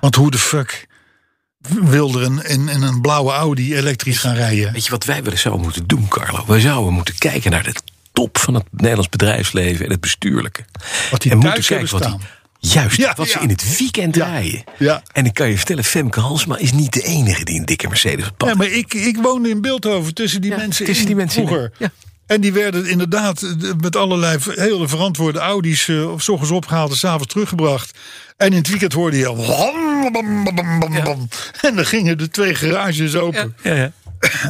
Want hoe de fuck wil er een, in, in een blauwe Audi elektrisch gaan rijden?
Weet je wat wij weer zouden moeten doen, Carlo? Wij zouden moeten kijken naar de top van het Nederlands bedrijfsleven en het bestuurlijke.
Wat die
en
thuis hebben
wat die
staan.
Juist,
Ja,
wat ze
ja.
in het weekend rijden.
ja.
En ik kan je vertellen, Femke Halsma is niet de enige die een dikke Mercedes op pad
Ja, maar ik, ik woonde in Beeldhoven tussen die mensen
tussen
in
die mensen in,
vroeger.
ja.
En die werden inderdaad eh, met allerlei ver- hele verantwoorde Audi's... eh, of 's ochtends opgehaald en s'avonds teruggebracht. En in het weekend hoorde je... al wam, bam, bam, bam, bam, bam. En dan gingen de twee garages open.
Ja, ja.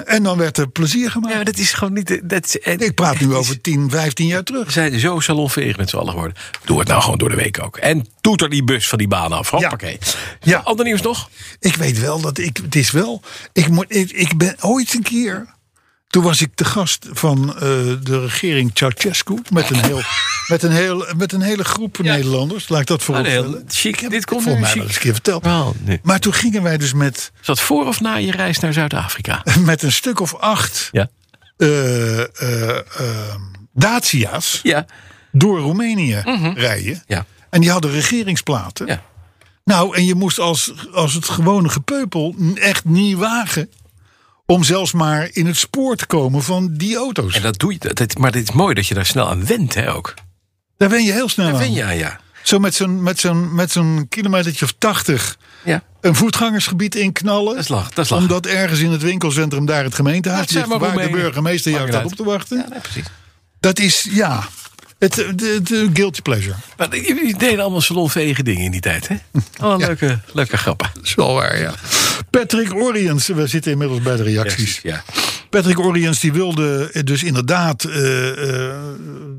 En dan werd er plezier gemaakt.
ja, maar dat is gewoon niet... eh, Dat, is- eh,
ik praat
het
nu
is-
over 10, 15 jaar terug.
We zijn zo salonveeg met z'n allen geworden. Doe het nou gewoon door de week ook. En toeter die bus van die baan af. Hoppakee. Ja.
Ja.
Ander nieuws nog?
Ik weet wel dat ik... Het is wel... Ik, moet, ik, ik ben ooit een keer... Toen was ik de gast van eh, de regering Ceausescu. Met een, heel, met een, heel, met een hele groep Nederlanders. Laat ik dat
Ah,
voorop
nee,
stellen.
chic. Dit komt
Volgens mij wel eens een
chic.
keer verteld.
Wel, nee.
Maar toen gingen wij dus met,
Is dat voor of na je reis naar Zuid-Afrika?
met een stuk of acht
Ja.
eh, eh, eh, Dacia's
Ja.
door Roemenië
Mhm.
rijden.
Ja.
En die hadden regeringsplaten.
Ja.
Nou, en je moest als, als het gewone gepeupel n- echt niet wagen... om zelfs maar in het spoor te komen van die auto's.
En dat doe je. Dat, dit- maar dit is mooi dat je daar snel aan went, hè, ook.
Daar ben je heel snel
Daar
aan.
wen je aan, ja.
Zo met zo'n, met, zo'n, met zo'n kilometertje of tachtig...
Ja.
een voetgangersgebied in knallen.
Dat is lach, dat is lach.
Omdat ergens in het winkelcentrum daar het gemeentehuis
Dat zijn
ligt...
maar
waar de
Roemenen.
burgemeester jou
Maakt
staat
niet
op te wachten.
Ja, nee, precies.
Dat is, ja, het, eh, de, de guilty pleasure.
Maar die, die deden allemaal salonvege dingen in die tijd, hè? Allemaal leuke, leuke grappen.
Dat is wel waar, ja. Patrick Oriens, we zitten inmiddels bij de reacties.
Ja.
Patrick Oriens die wilde eh, dus inderdaad eh, eh,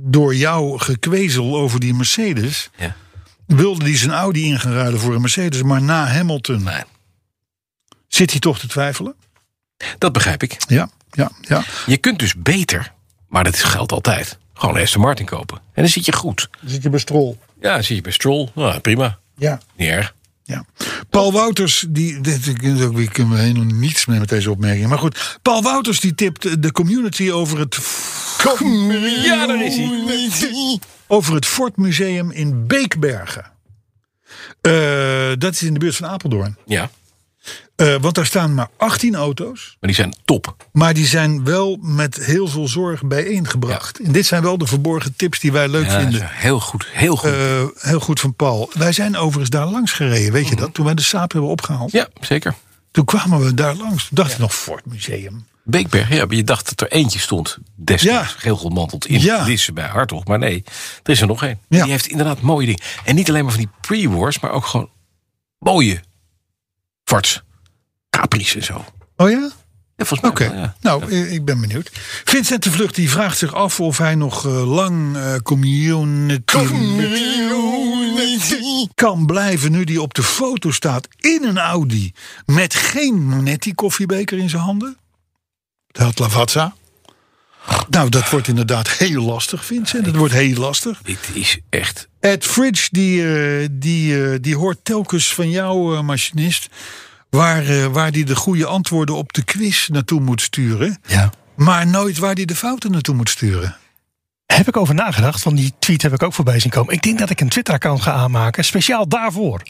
door jou gekwezel over die Mercedes...
ja.
wilde hij zijn Audi in gaan ruilen voor een Mercedes. Maar na Hamilton
Nee.
zit hij toch te twijfelen.
Dat begrijp ik.
Ja, ja, ja.
Je kunt dus beter, maar dat geldt altijd, gewoon een Aston Martin kopen. En dan zit je goed.
Zit je bij Strol.
Ja, dan zit je bij Stroll. Nou, prima.
Ja.
Niet erg.
Ja. Paul Wouters, die, dit, ik- ik kunnen we helemaal niets meer met deze opmerking. Maar goed, Paul Wouters die tipt de community over het.
Ja, daar is hij.
Over het Fort Museum in Beekbergen. Eh, dat is in de buurt van Apeldoorn.
Ja,
Eh, want daar staan maar 18 auto's.
maar die zijn top.
Maar die zijn wel met heel veel zorg bijeengebracht. En dit zijn wel de verborgen tips die wij leuk
Ja,
vinden.
zo, heel goed, heel goed.
Eh, heel goed van Paul. Wij zijn overigens daar langs gereden, weet je dat? Toen wij de saap hebben opgehaald.
ja, zeker.
Toen kwamen we daar langs. Toen dacht ik nog, Fort Museum.
Beekberg, ja, maar je dacht dat er eentje stond destijds
Ja.
geel geelgemanteld in
Ja.
Lisse bij Hartog. Maar nee, er is er nog één.
Ja.
Die heeft inderdaad mooie dingen. En niet alleen maar van die pre-wars, maar ook gewoon mooie farts. Capri's en zo.
Oh ja?
Ja, volgens mij
Oké.
wel, ja.
Nou, eh, ik ben benieuwd. Vincent de Vlucht die vraagt zich af of hij nog eh, lang eh, community, kan blijven nu die op de foto staat in een Audi met geen Monetti koffiebeker in zijn handen. Dat had Lavazza. Nou, dat wordt inderdaad heel lastig, Vincent. Dat wordt heel lastig.
Dit is echt...
Ed Fridge, die, eh, die, eh, die hoort telkens van jou, eh, machinist, waar eh, waar die de goede antwoorden op de quiz naartoe moet sturen.
Ja.
Maar nooit waar die de fouten naartoe moet sturen.
Heb ik over nagedacht, want die tweet heb ik ook voorbij zien komen. Ik denk dat ik een Twitter-account ga aanmaken, speciaal daarvoor.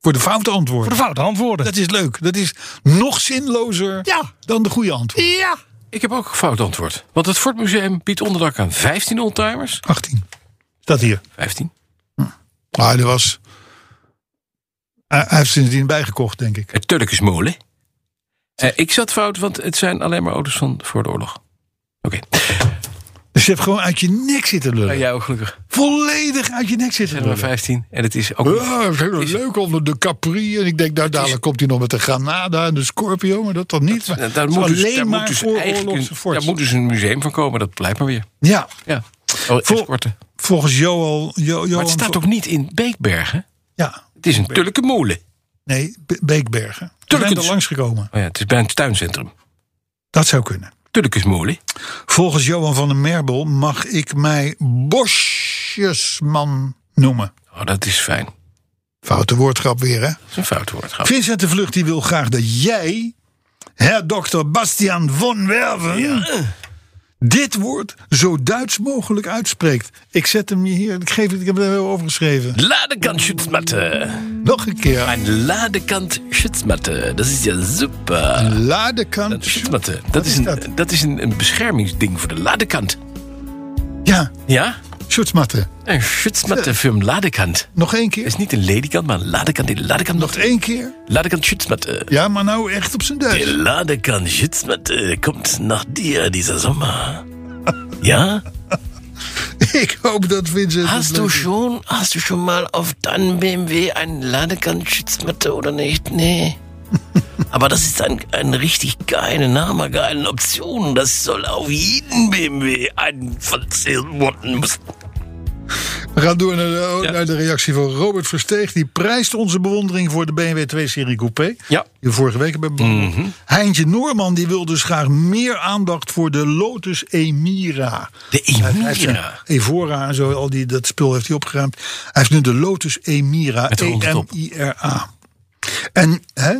Voor de foute
Voor de
antwoorden.
foute antwoorden.
Dat is leuk. Dat is nog zinlozer
Ja.
dan de goede antwoorden.
Ja!
Ik heb ook een fout antwoord. Want het Fort Museum biedt onderdak aan 15 oldtimers.
18. Staat hier.
15?
Ah, dat was. Hij hij heeft sindsdien bijgekocht, denk ik.
Het Turkish molen. Eh, ik zat fout, want het zijn alleen maar auto's van voor de oorlog. Oké.
Dus je hebt gewoon uit je nek zitten lullen.
Nou, jij ook gelukkig.
Volledig uit je nek zitten
Er zijn er
lullen.
maar 15. En het is ook...
Ja, dat is heel leuk onder de Capri. En ik denk, nou, dadelijk komt hij nog met de Granada en de Scorpio. Maar dat dan niet. Maar
Nou,
het
daar
is
moet dus,
alleen
daar
maar
moet dus
voor
eigenlijk
oorlogse
een,
forts.
daar moet dus een museum van komen. Dat blijkt maar weer.
Ja,
Ja. Oh, escorten.
volgens Joel... Jo, Johan
Maar het staat ook niet in Beekbergen.
Ja,
Het is een Turkse molen.
nee, Be- Beekbergen. We zijn
Turkens.
er langs gekomen.
Oh ja, het is bij het tuincentrum.
Dat zou kunnen.
Turkish molen.
Volgens Johan van den Merbel mag ik mij Bosjesman noemen.
Oh, dat is fijn. Dat
Foute woordgrap weer, hè?
is een fout woord. grap.
Vincent de Vlucht die wil graag dat jij, herr dokter Bastian von Werven, dit woord zo Duits mogelijk uitspreekt. Ik zet hem je hier, ik, geef het, ik heb het er over geschreven.
Ladekant schutsmatte.
Nog een keer.
Een ladekant schutsmatte. Dat is ja super.
Ladekant.
Schutsmatte. Dat is, een,
dat?
dat is een, een beschermingsding voor de ladekant.
Ja,
Ja?
Schutzmatte.
Een schuts met de film Ladekant.
Nog één
Het
keer.
is niet een ladykant, maar een ladekant. Die ladekant
Nog
nog.
één keer.
Ladekant schuts met. eh,
Ja, maar nou echt op zijn
Die
Duits.
Ladekant schuts met. eh, komt nach dir dieser Sommer. Ja?
Ik hoop dat Vincent... het
Hast du
leuk-
schon, hast du schon mal auf deinem BMW einen Ladekant-Schutzmatte oder nicht? Nee. Aber das ist ein, ein richtig geile, hammergeile Option. Das soll auf jeden BMW einen verzählt worden müssen.
We gaan door naar de, naar de reactie van Robert Versteeg. Die prijst onze bewondering voor de BMW 2-serie Coupé.
Ja.
Die we vorige week hebben behandeld.
Mhm.
Heintje Noorman die wil dus graag meer aandacht voor de Lotus Emira.
De
Hij heeft zijn
Emira.
Evora en zo, al die, dat spul heeft hij opgeruimd. Hij heeft nu de Lotus Emira. E
Met de ronde top.
E-M-I-R-A. En, hè?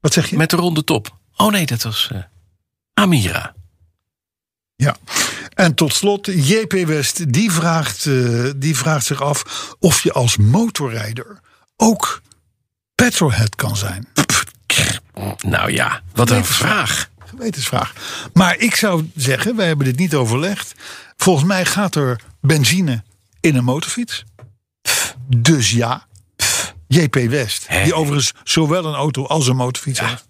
Wat zeg je?
Met de ronde top. Oh nee, dat was eh, Amira.
Ja. En tot slot, JP West, die vraagt, eh, die vraagt zich af of je als motorrijder ook petrolhead kan zijn.
Nou ja, wat een vraag.
Gewetensvraag. Maar ik zou zeggen, wij hebben dit niet overlegd. Volgens mij gaat er benzine in een motorfiets. Dus ja, JP West, die overigens zowel een auto als een motorfiets heeft.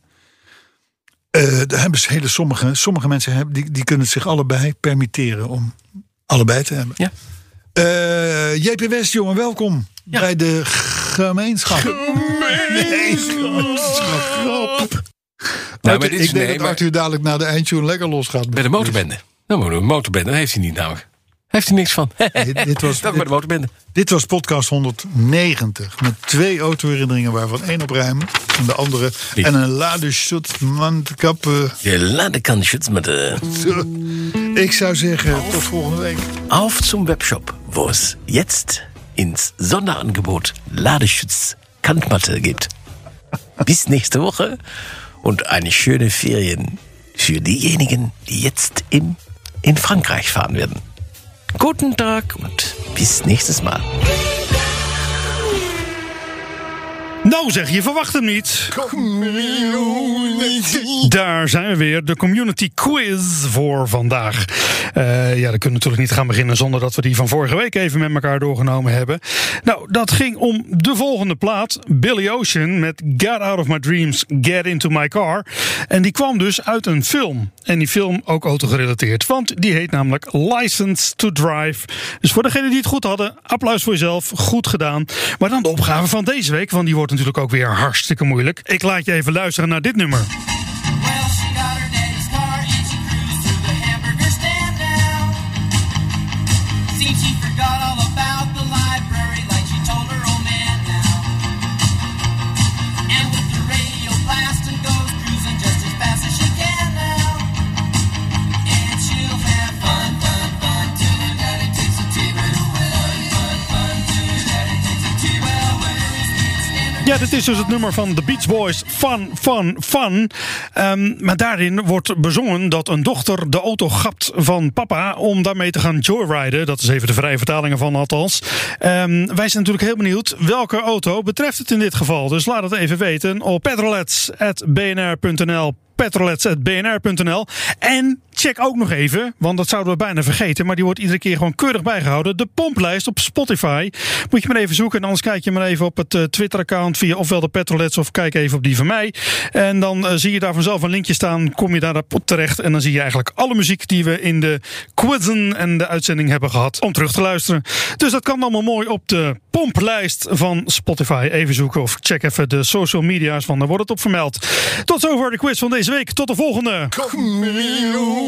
Eh, daar hebben ze hele sommige, sommige mensen hebben, die, die kunnen het zich allebei permitteren om allebei te hebben.
Ja.
Eh, JP West, jongen, welkom bij de gemeenschap. Gemeenschap.
Nou, maar
Arthur,
dit is-
ik denk
nee,
dat
maar-
Arthur dadelijk na de eindtune lekker los gaat.
Bij de motorbende. Dan moet een motorbende. Dat heeft hij niet namelijk. Heeft hij niks van.
dit was-
Welkom bij
dit-
de motorbende.
Dit was podcast 190 met twee autoherinneringen waarvan één op ruim en de andere
Lief.
en een lade Schutzmannskap.
De Ladekant Schutzmatte.
Ik zou zeggen tot volgende week.
Auf zum Webshop, wo es jetzt ins Sonderangebot Ladeschutz Kantmatte gibt. Bis nächste Woche und eine schöne Ferien für diejenigen, die jetzt im, in Frankreich fahren werden. Guten Tag und bis nächstes Mal.
Nou zeg, je verwacht hem niet. Daar zijn we weer, de community quiz voor vandaag. Eh, ja, dat kunnen we natuurlijk niet gaan beginnen zonder dat we die van vorige week even met elkaar doorgenomen hebben. Nou, dat ging om de volgende plaat, Billy Ocean met Get Out of My Dreams, Get Into My Car. En die kwam dus uit een film. En die film ook autogerelateerd, want die heet namelijk License to Drive. Dus voor degenen die het goed hadden, applaus voor jezelf, goed gedaan. Maar dan de opgave van deze week, want die wordt natuurlijk ook weer hartstikke moeilijk. Ik laat je even luisteren naar dit nummer.
Well, she got her daddy's car and she cruised to the hamburger stand now. Seems she forgot all about the library, like she told her old man now. And with the radio blasting, goes cruising just as fast as she can now. And she'll have fun, fun, fun till her daddy takes her to her. Fun, fun, fun till her daddy takes her to her. Where is the standard?
Ja, dit is dus het nummer van The Beach Boys, Fun, Fun, Fun. Ehm, maar daarin wordt bezongen dat een dochter de auto gapt van papa... om daarmee te gaan joyriden. Dat is even de vrije vertaling ervan althans. Ehm, wij zijn natuurlijk heel benieuwd welke auto betreft het in dit geval. Dus laat het even weten op petrolets.bnr.nl petrolets.bnr.nl En check ook nog even, want dat zouden we bijna vergeten... maar die wordt iedere keer gewoon keurig bijgehouden. De pomplijst op Spotify. Moet je maar even zoeken en anders kijk je maar even op het eh, Twitter-account... via ofwel de Petrolets of kijk even op die van mij. En dan eh, zie je daar vanzelf een linkje staan. Kom je daarop terecht en dan zie je eigenlijk alle muziek... die we in de quizzen en de uitzending hebben gehad om terug te luisteren. Dus dat kan allemaal mooi op de pomplijst van Spotify. Even zoeken of check even de social media's van. Daar wordt het op vermeld. Tot zover de quiz van deze week. Tot de volgende.